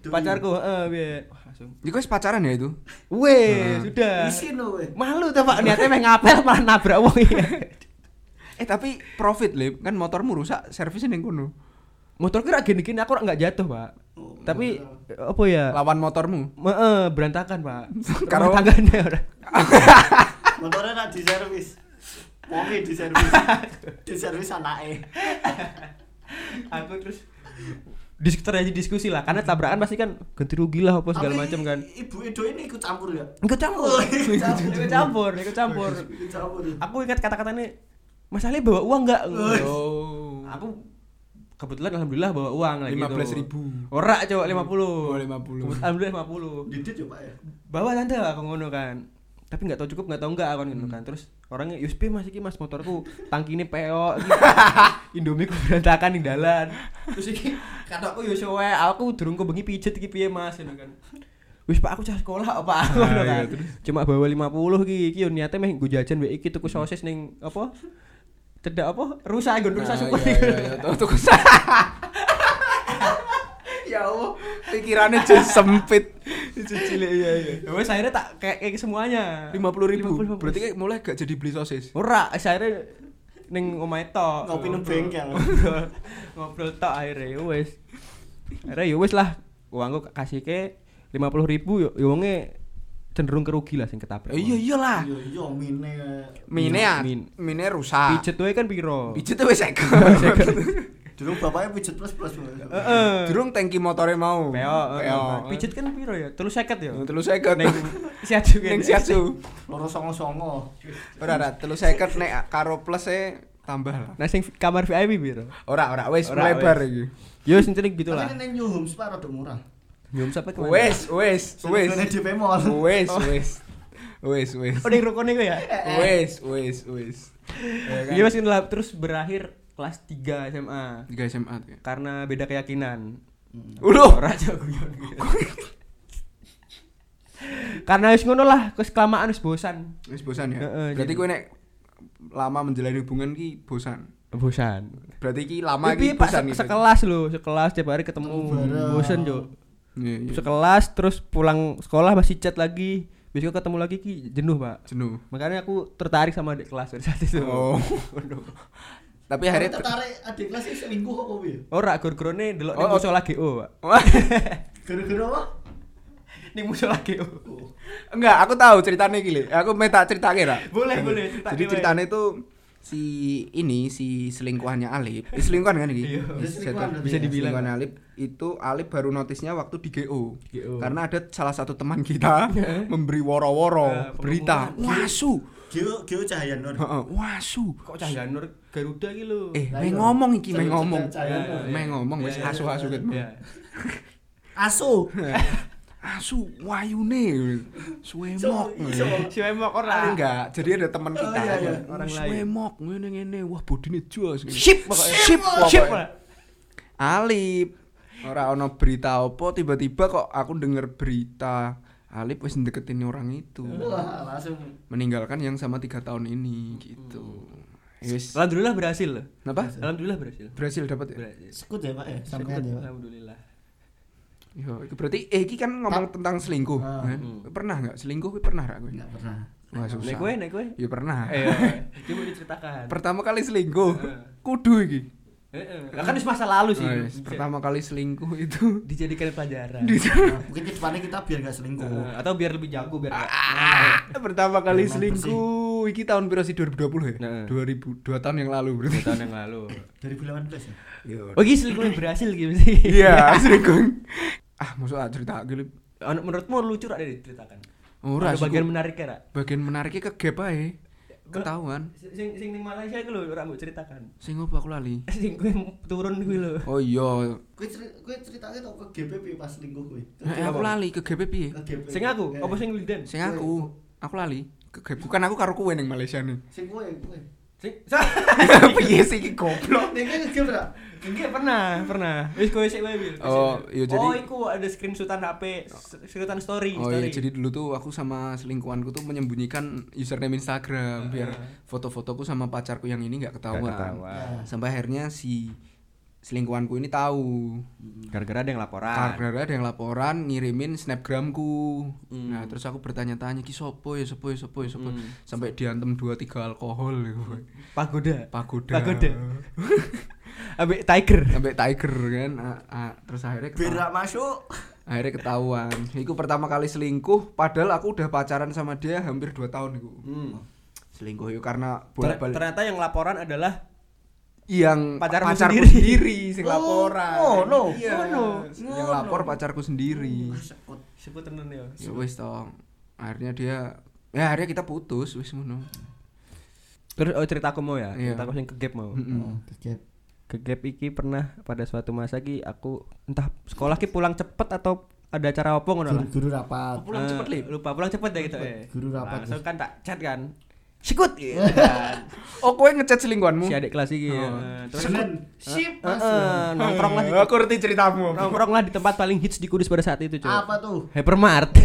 Hmm. e, pacarku eh biar Wah, langsung Hmm. Jadi gue pacaran ya itu? Weh, sudah. Isin lo weh. Malu tuh Pak, niatnya main ngapel malah nabrak wong iya. Eh tapi profit lip kan motormu rusak servisnya yang kono. Motor kira gini-gini aku nggak jatuh, Pak. Oh, Tapi apa ya? Lawan motormu. Me- eh, berantakan, Pak. Karo- Karena tangganya orang. Motornya nak di servis. Wongi di servis. Di servis anake. Aku terus dis terjadi diskusi lah karena tabrakan pasti kan ganti rugi lah apa Oh, segala Tapi macam kan. Ibu Edo ini ikut campur ya. Ikut campur. Oh, ikut campur. Ikut campur, ikut campur. Ikut campur. Aku ingat kata-katanya Mas Ali bawa uang nggak? Wih. Oh. Aku kebetulan alhamdulillah bawa uang lagi. 15.000. Ora coba 50. Oh, 50. Alhamdulillah 50. Didit ya Pak ya. bawa tante aku ngono kan tapi nggak tahu cukup nggak tahu nggak aku ngono Hmm. kan terus orangnya Yuspi mas iki mas motorku tangki ini peok Indomie ku berantakan di dalan terus iki kata aku Yuswe aku durung kebengi pijet iki piye mas ngono kan Wis pak aku cah sekolah apa aku ngono iya, kan. Cuma bawa 50 ki iki yo niate meh nggo jajan wek iki tuku sosis ning apa? Cedak apa? Rusak nggon rusak Nah, syukur. iya, iya, iya. Tuh, tuh, kus- Ya Allah, pikirannya jadi sempit. Jadi cilik ya ya. Ya wis akhirnya tak kayak kayak semuanya. 50.000. 50.000. Berarti kayak mulai gak jadi beli sosis. Ora, akhirnya ning omahe tok. Ngopi nang Ngobrol. bengkel. Ngobrol- Ngobrol tok akhirnya ya wis. Akhirnya ya wis lah. Uangku kasih ke 50 ribu yo yo wonge cenderung kerugi lah sing ketabrak. Eh, Iya iyalah. Ah. Yo yo mine. Mine ya, Min- mine rusak. Pijet wae kan piro? Pijet tuh wes Wes, ekor. ekor. Dulu bapaknya pijet plus plus. Heeh. Durung tangki motornya mau. Peo, Peo. pijet kan piro ya? Terus seket ya. Telus seket. Neng siatu kan. Neng siasu. Loro songo songo. Ora ora, telus seket nek karo plus e tambah lah. Nah sing kamar VIP piro? Ora ora wis Ora, melebar wis. iki. Yo sintene gitu Tapi lah. ini New Homes pak rada murah. Nyum sampe kemana? Wis wis wis. Ini di Pemol. Wis wis. Wis wis. Oh, ning rokone ku ya. Wis wis wis. Ya kan? Iya mas inilah terus berakhir kelas 3 SMA Tiga SMA. tuh ya. karena beda keyakinan. Uluh. Ora aja guyon. Karena wis ngono lah, wis kelamaan wis bosan. Wis bosan Heeh, iya. ya. Berarti jadi- kowe nek lama menjalani hubungan ki bosan. Bosan. Berarti ki lama Tapi ki Ya, pak bosan se- gitu. sekelas loh, sekelas tiap hari ketemu, Ketemu bareng. bosan jo. Iya, iya. Sekelas terus pulang sekolah masih chat lagi, besok ketemu lagi ki jenuh pak. Jenuh. Makanya aku tertarik sama adik kelas dari saat itu. Oh. Tapi Hari hari ter- tertarik adik kelas ini selingkuh kok kowe. Ora gur-gurane Oh, delok Oh, ning oh. musola GO, Pak. Gara-gara apa? Ning musola GO. Enggak, aku tahu ceritanya gini. Aku minta cerita kira. Boleh, boleh, cerita Jadi gini, ceritanya itu si ini si selingkuhannya Alip. Eh, selingkuhan kan ini? Iya. Bisa Selingkuhan jadi- berarti Bisa ya. dibilang selingkuhan Alip itu Alip baru notisnya waktu di GO. GO. Karena ada salah satu teman kita memberi Eh, woro-woro berita. Wasu. Gio Gio Cahaya Nur. Heeh, Wasu. Kok Cahyanur Garuda iki lho. Eh, Lah main iya. ngomong iki, main Cerita ngomong. Cahyanur. Main ngomong wis Iya, iya, asu-asu gitu. Ya. Asu. Asu wayune suwemok. Iso- iso. Si memang Paling ora. enggak, jadi ada teman kita iya, iya. Orang orang lain. lain. Mok ngene ngene, wah bodine jos. Sip pokoknya. Sip. Sip, pokoknya. Alip. Ora ono berita apa tiba-tiba kok aku denger berita Alip wis deketin orang itu. Wah, langsung. Meninggalkan yang sama tiga tahun ini gitu. Ya Wis. Alhamdulillah berhasil loh. Apa? Alhamdulillah berhasil. Berhasil dapat ya? Berhasil. Sekut ya Pak ya, sampean ya. Pak? Alhamdulillah. Yo, itu berarti eh iki kan ngomong tentang selingkuh. Ah, kan? Pernah nggak selingkuh? Kowe Pernah nggak kowe? Enggak pernah. Wah, susah. Nek kowe, nek Iya. kowe. Ya pernah. Ayo. Coba diceritakan. Pertama kali selingkuh. Heeh. Kudu iki. Heeh. Lah kan wis masa lalu sih. Iya. Oh, yes. Pertama kali selingkuh itu dijadikan pelajaran. Nah, mungkin ke depannya kita biar gak selingkuh. Eh, Nah. atau biar lebih jago Ah. biar nggak- pertama kali Emang selingkuh iki tahun berapa sih 2020 ya? Heeh. 2000 dua tahun yang lalu berarti. Dua tahun yang lalu. 2018 ya. Oh, iki selingkuh berhasil gitu sih. Iya, selingkuh. Ah, maksud ah cerita gini. Anu, menurutmu lucu rak Dek, diceritakan? Ora Ada bagian bagian menariknya rak. bagian menariknya ke gap ae. Ketahuan. Sing sing ning Malaysia iku lho ora mbok ceritakan. Sing opo aku lali. Sing kowe turun kuwi lho. Oh iya. Kowe ceri- kowe ceritanya tau ke GPP pas selingkuh kowe. Ke Eh, aku lali ke gap piye? Ke GPP. Sing aku, Eh, apa sing Liden? Sing aku, iya. aku lali. Ke gap. Bukan aku karo kowe ning Malaysia nih. Sing kowe kowe. Sing Piye sih iki goblok. Nek kowe ke ora? Enggak pernah, pernah. Wis kowe sik wae Wil. Oh, iya, jadi- Oh, iku ada screenshotan HP, s- screenshotan story, Oh story. iya, jadi dulu tuh aku sama selingkuhanku tuh menyembunyikan Nah. username Instagram biar foto-fotoku sama pacarku yang ini nggak ketahuan. Sampai akhirnya si selingkuhanku ini tahu. Gara-gara ada yang laporan. Karena ada yang laporan ngirimin snapgramku. Hmm. Nah, terus aku bertanya-tanya ki sopo ya sopo ya sopo ya sopo. Sampai diantem 2 3 alkohol. ya, Pagoda. Pagoda. Pagoda. Ambek Tiger. Sampai tiger kan. Ah, ah. Terus akhirnya ketahuan. Berak masuk. akhirnya ketahuan. Iku pertama kali selingkuh padahal aku udah pacaran sama dia hampir 2 tahun iku. Hmm. selingkuh yuk karena Ter- bolak balik ternyata yang laporan adalah yang Pacarmu pacarku sendiri. sendiri, sing Oh, laporan ngono. iya Oh, Ngono. Oh, yang lapor pacarku sendiri Sekut. sebut tenan ya. ya wis toh akhirnya dia ya akhirnya kita putus wis ngono Terus oh ceritaku mau ya, Iya. ceritaku sing kegep mau. Mm-mm. Kaget. ke gap iki pernah pada suatu masa ki aku entah sekolah ki pulang cepet atau ada acara apa ngono lah. Guru-guru rapat. pulang Eh, cepet, Lip? Lupa pulang cepet ya gitu ya. Guru rapat, Langsung kan tak chat kan. Sikut gitu kan. Iya, oh kowe ngechat selingkuhanmu si adik kelas iki. Oh. eh, Terus Senen. Sip. eh, Mas. eh, nongkrong lah di Iya, aku ngerti ceritamu nongkrong lah di tempat paling hits di Kudus pada saat itu, cuy. Apa tuh? Hypermart.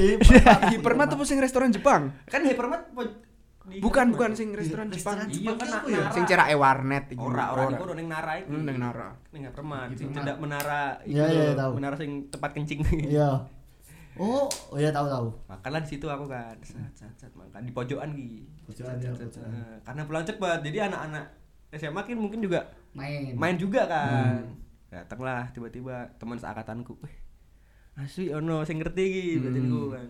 Hipermart tuh sing restoran Jepang kan Hypermart po- di- bukan bukan sing restoran Jepang Iya, kan nak ya? nara. sing cerake warnet iki. Ora, ora niku ning Nara Gitu. iki. Hmm, ning Nara. Ning Hypermart, sing cedak menara Iya, iya, lho, tahu. Menara sing tempat kencing. Iya. Oh, oh ya tahu tahu. makanlah di situ aku kan sat sat sat makan di pojokan gitu Pojokan, ya, pojokan. Eh, karena pulang cepat jadi anak-anak SMA kan mungkin juga Main. Hmm. main juga kan datanglah tiba-tiba teman seangkatanku weh asli ono sing ngerti iki Hmm. berarti niku kan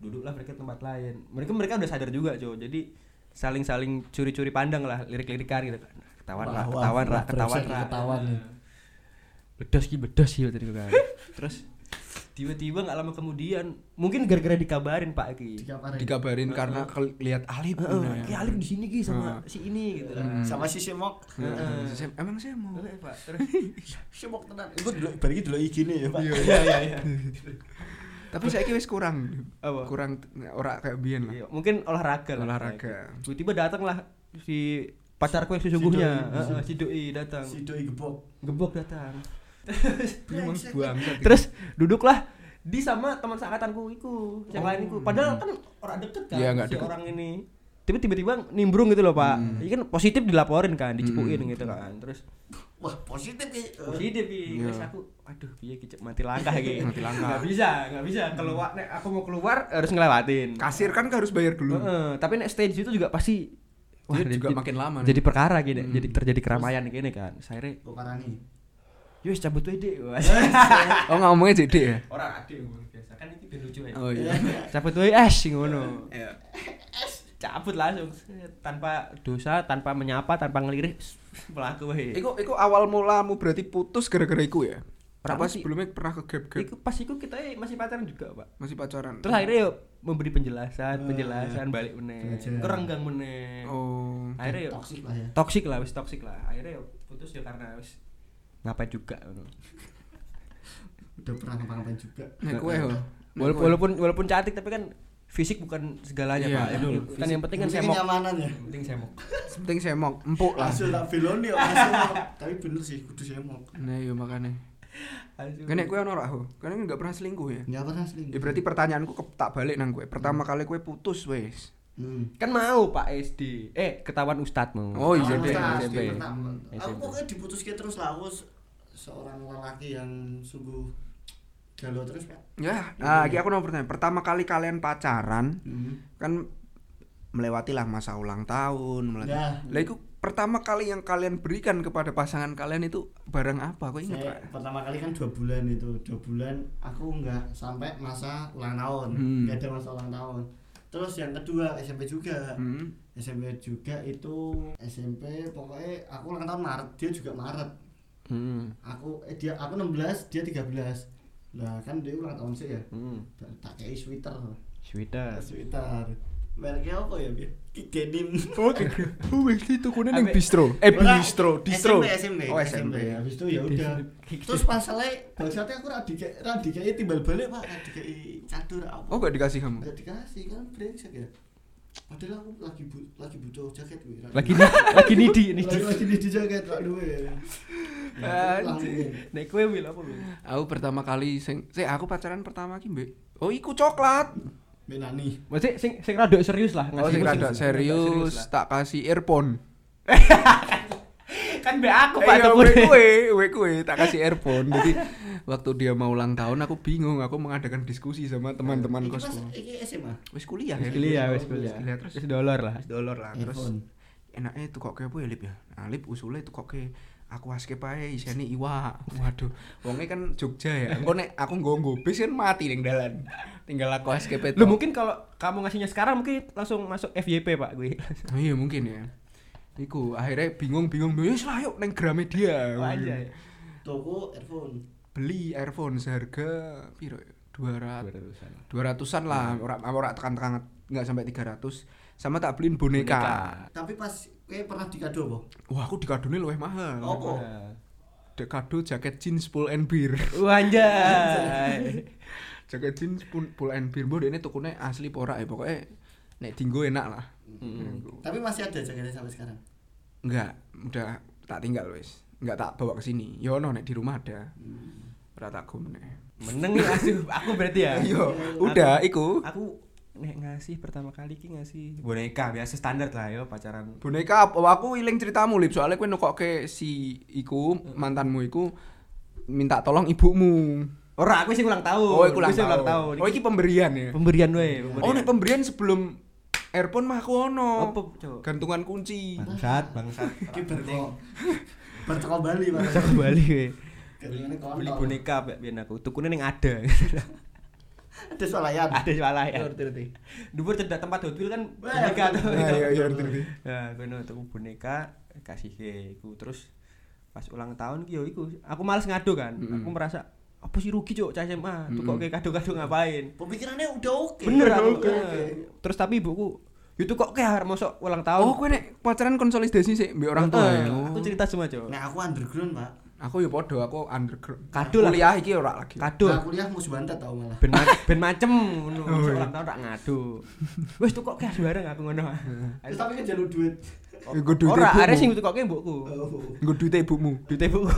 duduklah mereka di tempat lain mereka mereka udah sadar juga Jo jadi saling-saling curi-curi pandang lah lirik-lirikan gitu kan ketahuan lah Wah, ketahuan wah, wah, lah ketahuan brengsek, lah ketahuan. Nah, bedos ki bedos sih tadi kan terus tiba-tiba nggak lama kemudian mungkin gara-gara dikabarin pak ki dikaparin dikabarin karena kelihatan Alip Heeh, ya. bener. ki Alif di sini ki sama Heeh. si ini gitu Hmm. sama si Semok Heeh. Saya- emang saya mau Heeh, Pak. Terus Semok tenan itu dulu bari dulu IG nih ya pak iya iya iya. tapi saya wis kurang Apa? kurang ora kayak biyen lah Iya, mungkin olahraga lah. Nah. gitu. Olahraga. Tiba-tiba datanglah si pacarku yang sesungguhnya, Heeh, si doi datang. si doi gebok Gebok datang. memang Brengsek. bangsat Terus duduklah di sama teman seangkatanku iku, yang lain iku. Padahal kan orang deket kan Oh. Iya, nggak si deket. orang ini. Tapi tiba-tiba nimbrung gitu loh, Pak. Hmm. Ini kan positif dilaporin kan, dicepuin gitu kan. Terus wah positif ya positif iki. Iya. Terus aku aduh piye kicep mati langkah iki. Mati Nggak langkah. bisa, nggak bisa keluar nek aku mau keluar harus ngelewatin. kasir kan harus bayar dulu Heeh, tapi nek stay di situ juga pasti Wah, jadi- juga Hmm. jadi- makin lama nih. Jadi perkara gini, Hmm. jadi terjadi keramaian gini kan. Saya kok karani yo wis cabut wae Dik. oh ngomongnya jadi ya Ora adik ngomong biasa kan iki ben lucu ya. oh iya Cabut wae es ngono. Cabut langsung set, tanpa dosa, tanpa menyapa, tanpa ngelirih pelaku wae. Iku, iku awal mulamu berarti putus gara-gara iku ya? Pernah Apa sih. sebelumnya pernah ke gap gap Iku pas iku kita eh, masih pacaran juga, Pak. masih pacaran? Terus akhirnya yo memberi penjelasan, Ah, penjelasan balik meneh. Belajar. Kerenggang meneh. oh Akhirnya yo toksik lah ya toksik lah wis toksik lah akhirnya ya putus ya karena wis ngapain juga Nah, ngono. udah pernah ngapa-ngapain juga nek kowe ho. Walaupun, walaupun walaupun cantik tapi kan fisik bukan segalanya Iya, pak iya. Yang- kan yang penting kan Mungkin semok kenyamanan ya penting semok penting semok empuk lah. hasil tak beloni ya hasil tapi bener sih kudu Semok Nah, iya makanya. Iya. Kene kowe ono ora ho? Kene enggak pernah selingkuh ya? nggak pernah selingkuh Ya berarti pertanyaanku ke, tak balik nang kowe. Pertama kali kowe putus wes. hmm. kan mau pak SD eh ketahuan ustad mau Oh, iya, Aku Dek. pernah, SMP. Ya, aku pernah. Aku SMP. pokoknya diputuskan terus lah aku se- seorang lelaki yang sungguh galau terus pak. Ya, nah, iki aku nomor pertanyaan. Pertama kali kalian pacaran kan melewati lah masa ulang tahun, melewati. Ya. Lah iku pertama kali yang kalian berikan kepada pasangan kalian itu barang apa? Kowe inget Saya gak? pertama kali kan dua bulan itu dua bulan aku nggak sampai masa ulang tahun Hmm. nggak ada masa ulang tahun. Terus yang kedua SMP juga Hmm. SMP juga itu SMP pokoknya aku ulang tahun Maret dia juga Maret hmm. aku eh dia aku 16 dia 13 lah kan dia ulang tahun sih ya hmm. tak kayak sweater Nah, Swida sweater mereknya apa ya bi denim Oke. Oh, wis ditukune ning bistro. Eh, Ora, bistro, distro. SMP SMP Oh, SMP. habis itu ya udah terus pas selesai bangsatnya aku radi radi kayak timbal balik pak radi kayak cadur apa Oh, gak dikasih kamu. nggak dikasih kan brengsek ya padahal aku lagi bu lagi butuh jaket gue lagi ni lagi nidi nidi lagi lagi di jaket pak duwe Ya, nek kue wil apa wil Aku pertama kali sing sik aku pacaran pertama ki, Mbak. Oh, iku coklat. Menani maksudnya sing sing rada serius lah Oh, ngasih sing ku rada serius, lah. tak kasih earphone. kan be aku Eh, pak iya, temen we kue, we kue, tak kasih earphone. Jadi waktu dia mau ulang tahun aku bingung, aku mengadakan diskusi sama teman-teman Iki pas kosku. iki SMA Wis kuliah ya. kuliah wes kuliah Kuliah terus. terus dollar lah Wis dolor lah Ah, terus. Earphone enaknya itu kok apa ya Lip ya nah, Lip usulnya itu kok aku aske pae iseni iwa waduh wongnya kan Jogja ya engko nek aku nggo nggo bis kan mati ning dalan tinggal aku aske pae lu mungkin kalau kamu ngasihnya sekarang mungkin langsung masuk FYP pak gue oh, iya mungkin ya Iku akhirnya bingung-bingung, wis lah yuk neng Gramedia. ya. aja toko earphone Beli earphone seharga piro ya? 200 200-an lah, ora ora tekan-tekan enggak sampai 300. Sama tak beliin boneka. Boneka. tapi pas kayak pernah dikado apa Wah, aku dikadone luwih mahal. Apa? Oh. Dek kado jaket jeans full and beer. Uh, Wanjay. jaket jeans pun pull and beer mbok ini tukune asli apa ora ya pokoknya nek dinggo enak lah tapi masih ada jaketnya sampai sekarang enggak udah tak tinggal wis enggak tak bawa ke sini ya ono nek di rumah ada Hmm. ora tak go meneh Meneng nih asuh aku berarti ya. yo Iya. udah iku Aku nek ngasih pertama kali ki ngasih boneka biasa standar lah yo pacaran. boneka apa- aku iling ceritamu lip soalnya kowe nukokke si iku Hmm. mantanmu iku minta tolong ibumu Ora aku sih ulang tahun. oh iku ulang Aku sih tahun tahun. oh iki pemberian ya pemberian wae, oh nek pemberian. pemberian sebelum earphone mah aku ono Apa, Cok? gantungan kunci Bangsat, bangsat. Ki berko berko Bali pak Bisa kembali wae. Gantungannya kontol. Beli boneka Mbak, biyen aku. Tukune ning ada. ada swalayan Ada salah ya. Ngerti, ngerti. Dubur cedak tempat Hot Wheels kan Wah, boneka betul. tuh. Nah, iya, iya, ngerti, ngerti. Ya, gue tuku boneka kasih ke iku terus pas ulang tahun ki yo iku aku males ngadu kan Mm-mm. aku merasa apa sih rugi cok cah SMA tuh kok Mm-mm. kayak kado-kado ngapain Pemikirannya udah oke. bener Udah aku oke. eh, terus tapi ibuku itu kok kayak harus masuk ulang tahun Oh, kowe nek pacaran konsolidasi sih mbek orang tua. Eh, ya? aku cerita semua cok Nah, aku underground, Pak. Aku ya podo, aku underground. Kado lah. Kuliah iki ora lagi. kado Nah, kuliah musuh bantet tau malah. ben, ma- ben macem ngono Oh, Masuk iya. ulang tahun tak ngadu wis tuh kok kayak bareng aku ngono Nah. Terus tapi kan jalur duit. Ya, Nggo duit ora ibumu. arek sing tuh kok mbokku Oh. Nggo duite ibumu. duit ibuku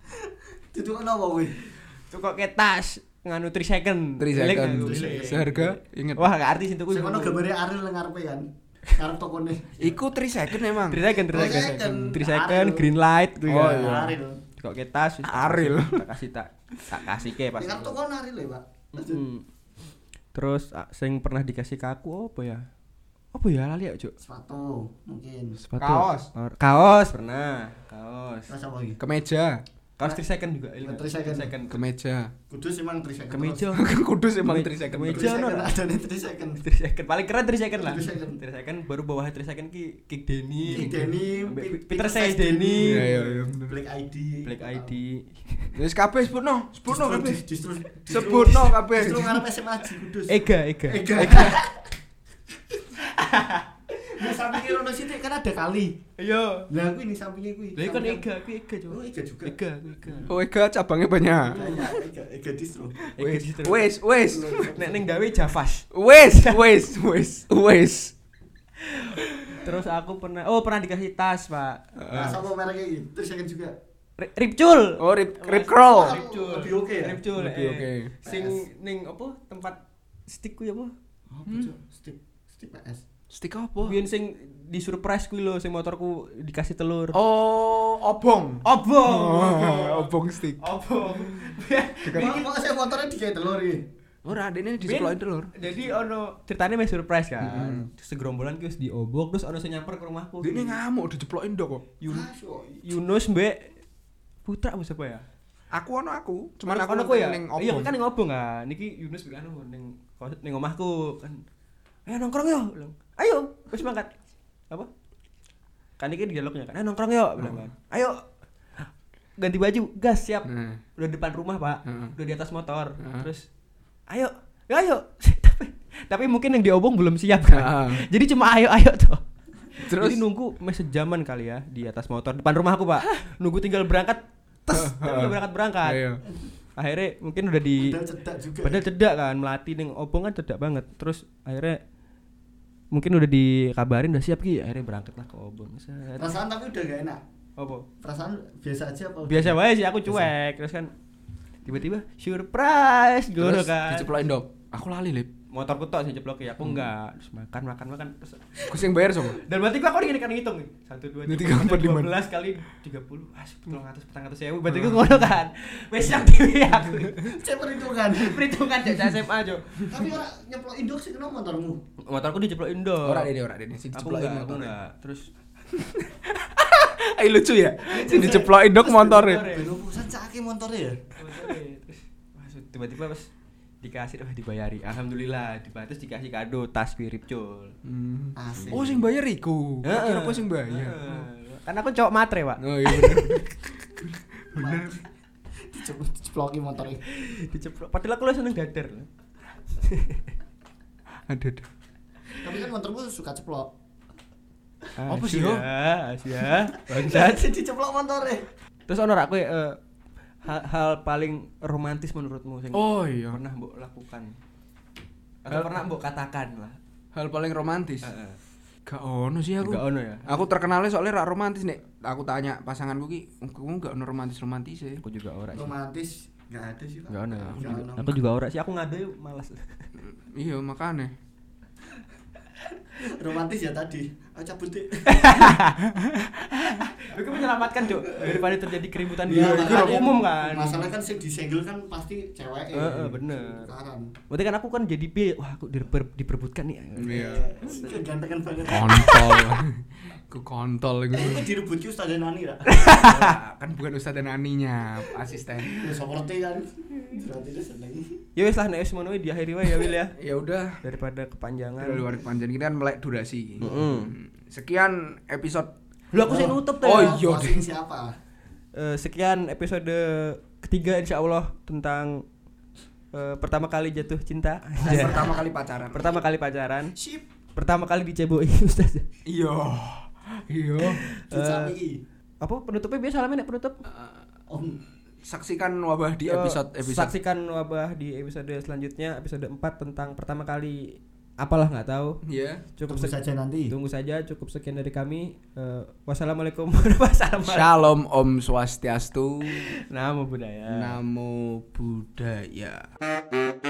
Itu kan apa weh? tuh kok kayak tas nganu 3 second 3 Eling second. aku, Three eling. second. Seharga inget. wah gak arti sih tuh Sing ono gambare Ariel nang ngarepe kan. Ngarep tokone. Iku 3 second emang. Three second, three Oh, Three second, second. three second, Ariel. green light gue Oh, kan. iya. Ariel. Kok kayak tas, wis tak kasih- Ariel. tak kasih tak tak kasih ke pas. Ngarep tokone Ariel ya, Pak. Mm. Terus ah, sing pernah dikasih ke aku apa ya? Apa ya lali ya, Cuk? Sepatu mungkin. Sepatu. Ah. Kaos. Or- Kaos pernah. Kaos. Terus apa lagi? Kemeja, Kaos 3 second juga. ini. Three second. Three second. kemeja. Kudus emang 3 second. Kemeja. Kudus emang Keme- 3 second. kemeja. 3 second kan ada nih 3 second. 3 second. Paling keren 3 second lah. Three second. 3 second baru bawah 3 second ki kick Denny. Kick Denny, Ambek Pi- Peter Peter Says Says Denny. Denny. Iya, iya, iya, bener. Black ID. Black Iya. ID. Wis kabeh sebutno, Justru, sebutno kabeh. justru, justru- Sebutno kabeh. Justru ngarep SMA Haji Kudus. Ega, Ega. Ega. Nah, sampingnya Rono situ kan ada kali. Ayo. Lah aku ini sampingnya Iya. kuwi. Lah kan Sampingnya- Ega, aku Ega, Cuk. Oh, Ega juga. Ega, aku Ega. Oh, ega cabangnya banyak. Banyak, Ega, Ega distro. Nah, Ega Wes, distro. wes, wes. Nek ning gawe Javas. Wes, wes, wes, wes. Terus aku pernah oh pernah dikasih tas, Pak. Nah, sama mereknya ini. Terus second juga. Ri- Ripcul. Oh, rip, rip crawl. Ripcul. Lebih oke ya? Ripcul. Lebih eh. oke. Sing PS. ning apa tempat stick kuwi apa? Apa, Cok? Stick, stick PS. Stik apa? Biyen sing di surprise kuwi lho sing motorku dikasih telur. Oh, obong. Obong. Oh, obong stik. Obong. Ini kok saya motornya dikait telur ini. Oh, Ora, dene Biyen- disekolahin telur. Mm-hmm. Jadi ono ceritane mes surprise kan. Mm-mm. Terus segerombolan ki wis diobok terus ono sing nyamper ke rumahku. Dene ngamuk diceplokin dok kok. Yun- Ah, Cok. Yunus Mbak Putra apa siapa ya? Aku ono aku, cuman aku ono kowe ya. ning Iya obong. kan ning obong kan. Niki Yunus bilang anu ning kos- ning omahku kan. Ayo nongkrong yo. bilang. Ayo, wis mangkat. Apa? Kan iki dialognya kan. Ayo nongkrong yo bilang kan. Mm. Ayo. Ganti baju, gas siap. Nah. Udah depan rumah, Pak. Heeh. Udah di atas motor. Heeh. Terus ayo. Ya ayo. tapi tapi mungkin yang diobong belum siap kan. Heeh. Jadi cuma ayo ayo tuh. Terus? Jadi nunggu mes sejaman kali ya di atas motor depan rumahku, Pak. nunggu tinggal berangkat. Tes, tapi udah berangkat-berangkat Iya. akhirnya mungkin udah di Padahal cedak juga. padahal cedak kan melati neng obong kan cedak banget terus akhirnya mungkin udah dikabarin udah siap ki akhirnya berangkat lah ke obong Set. Perasaan tapi udah gak enak. apa Perasaan biasa aja apa? udah? biasa aja sih aku cuek terus kan tiba-tiba surprise gue Terus kan diceplokin dok. Aku lali, Lip. motorku tok sih jeblok ya aku enggak terus makan makan makan terus Ku sing bayar sapa? dan berarti gua aku dikira kan ngitung nih satu dua Ini tiga empat, empat lima. dua belas kali tiga puluh ah sepuluh ratus petang ratus sewu berarti gua ngono kan wes yang dewi aku Saya perhitungan. perhitungan dari SMA jo tapi orang nyeplok induk sih kenapa motormu? motorku dijeblok Indo Ora dene, ora dene. ya, Sing aku diceplokin enggak, aku motor. enggak. Terus Ayo lucu ya. Sing diceplokin dok motornya. Ben urusan cake motornya ya. terus wah, su- tiba-tiba pas dikasih wah dibayari. Alhamdulillah, diba- terus dikasih kado tas mirip cul. Hmm. Asik. Oh, sing bayar iku. Heeh. Kira aku sing bayar. Heeh. Kan aku cowok matre, Pak. Oh, iya bener. Ceploki motornya. Diceplok. Padahal aku lu seneng dader. Aduh. aduh. Tapi kan motormu suka ceplok. Ah, Apa sih, Yo? Ya, ya. Bangsat. Jadi ceplok ya? motornya. Terus ono aku eh, hal, hal paling romantis menurutmu sing Oh, iya. pernah mbok lakukan? Atau Hal- pernah mbok katakan lah. Hal paling romantis. Heeh. Gak ono sih aku. Gak ono ya? Aku terkenalnya soalnya rak romantis nih. Aku tanya pasanganku ki, kamu gak ono romantis romantis ya? Aku juga ora sih. Romantis nggak ada sih Pak. Gak ono. Nggak Aku juga- ono. Aku juga ora sih. Aku ngadu malas. Iya makanya. Romantis ya tadi. Aku cabut deh. Itu menyelamatkan cok daripada terjadi keributan di Iya, tempat makanya. umum kan. Masalah kan sing disenggol kan pasti cewek. Heeh, bener. Karan. Berarti kan aku kan jadi B, wah aku diper, diperbutkan nih. Iya. Gantengan Eh, banget. Oh. Kontol. Ku kontol iku. Eh, Itu direbutnya Ustaz Nani lah. Iya, kan bukan ustaz dan aninya, asisten. Ya seperti kan. Berarti dia seneng. Ya wes lah nek wis ngono di akhir wae ya Wil ya. Ya udah, Daripada kepanjangan. dari luar panjang kita kan melek durasi. Hmm, Mm-mm. Sekian episode Lu aku sih nutup tuh. Oh, ya. iya, Closing siapa? Eh, sekian episode ketiga insya Allah tentang eh, pertama kali jatuh cinta Dan pertama kali pacaran. pertama kali pacaran Sip. pertama kali diceboi Ustaz Iya. Iya. Eh. Dicami i. apa penutupnya biasa salamin ya penutup Om. Saksikan wabah di Eh, episode episode saksikan wabah di episode selanjutnya episode 4 tentang pertama kali apalah nggak tahu Iya. cukup Tunggu sek- saja nanti. tunggu saja cukup sekian dari kami Eh, wassalamualaikum warahmatullahi wabarakatuh Shalom Om Swastiastu. Ya. namo budaya Namo Buddhaya.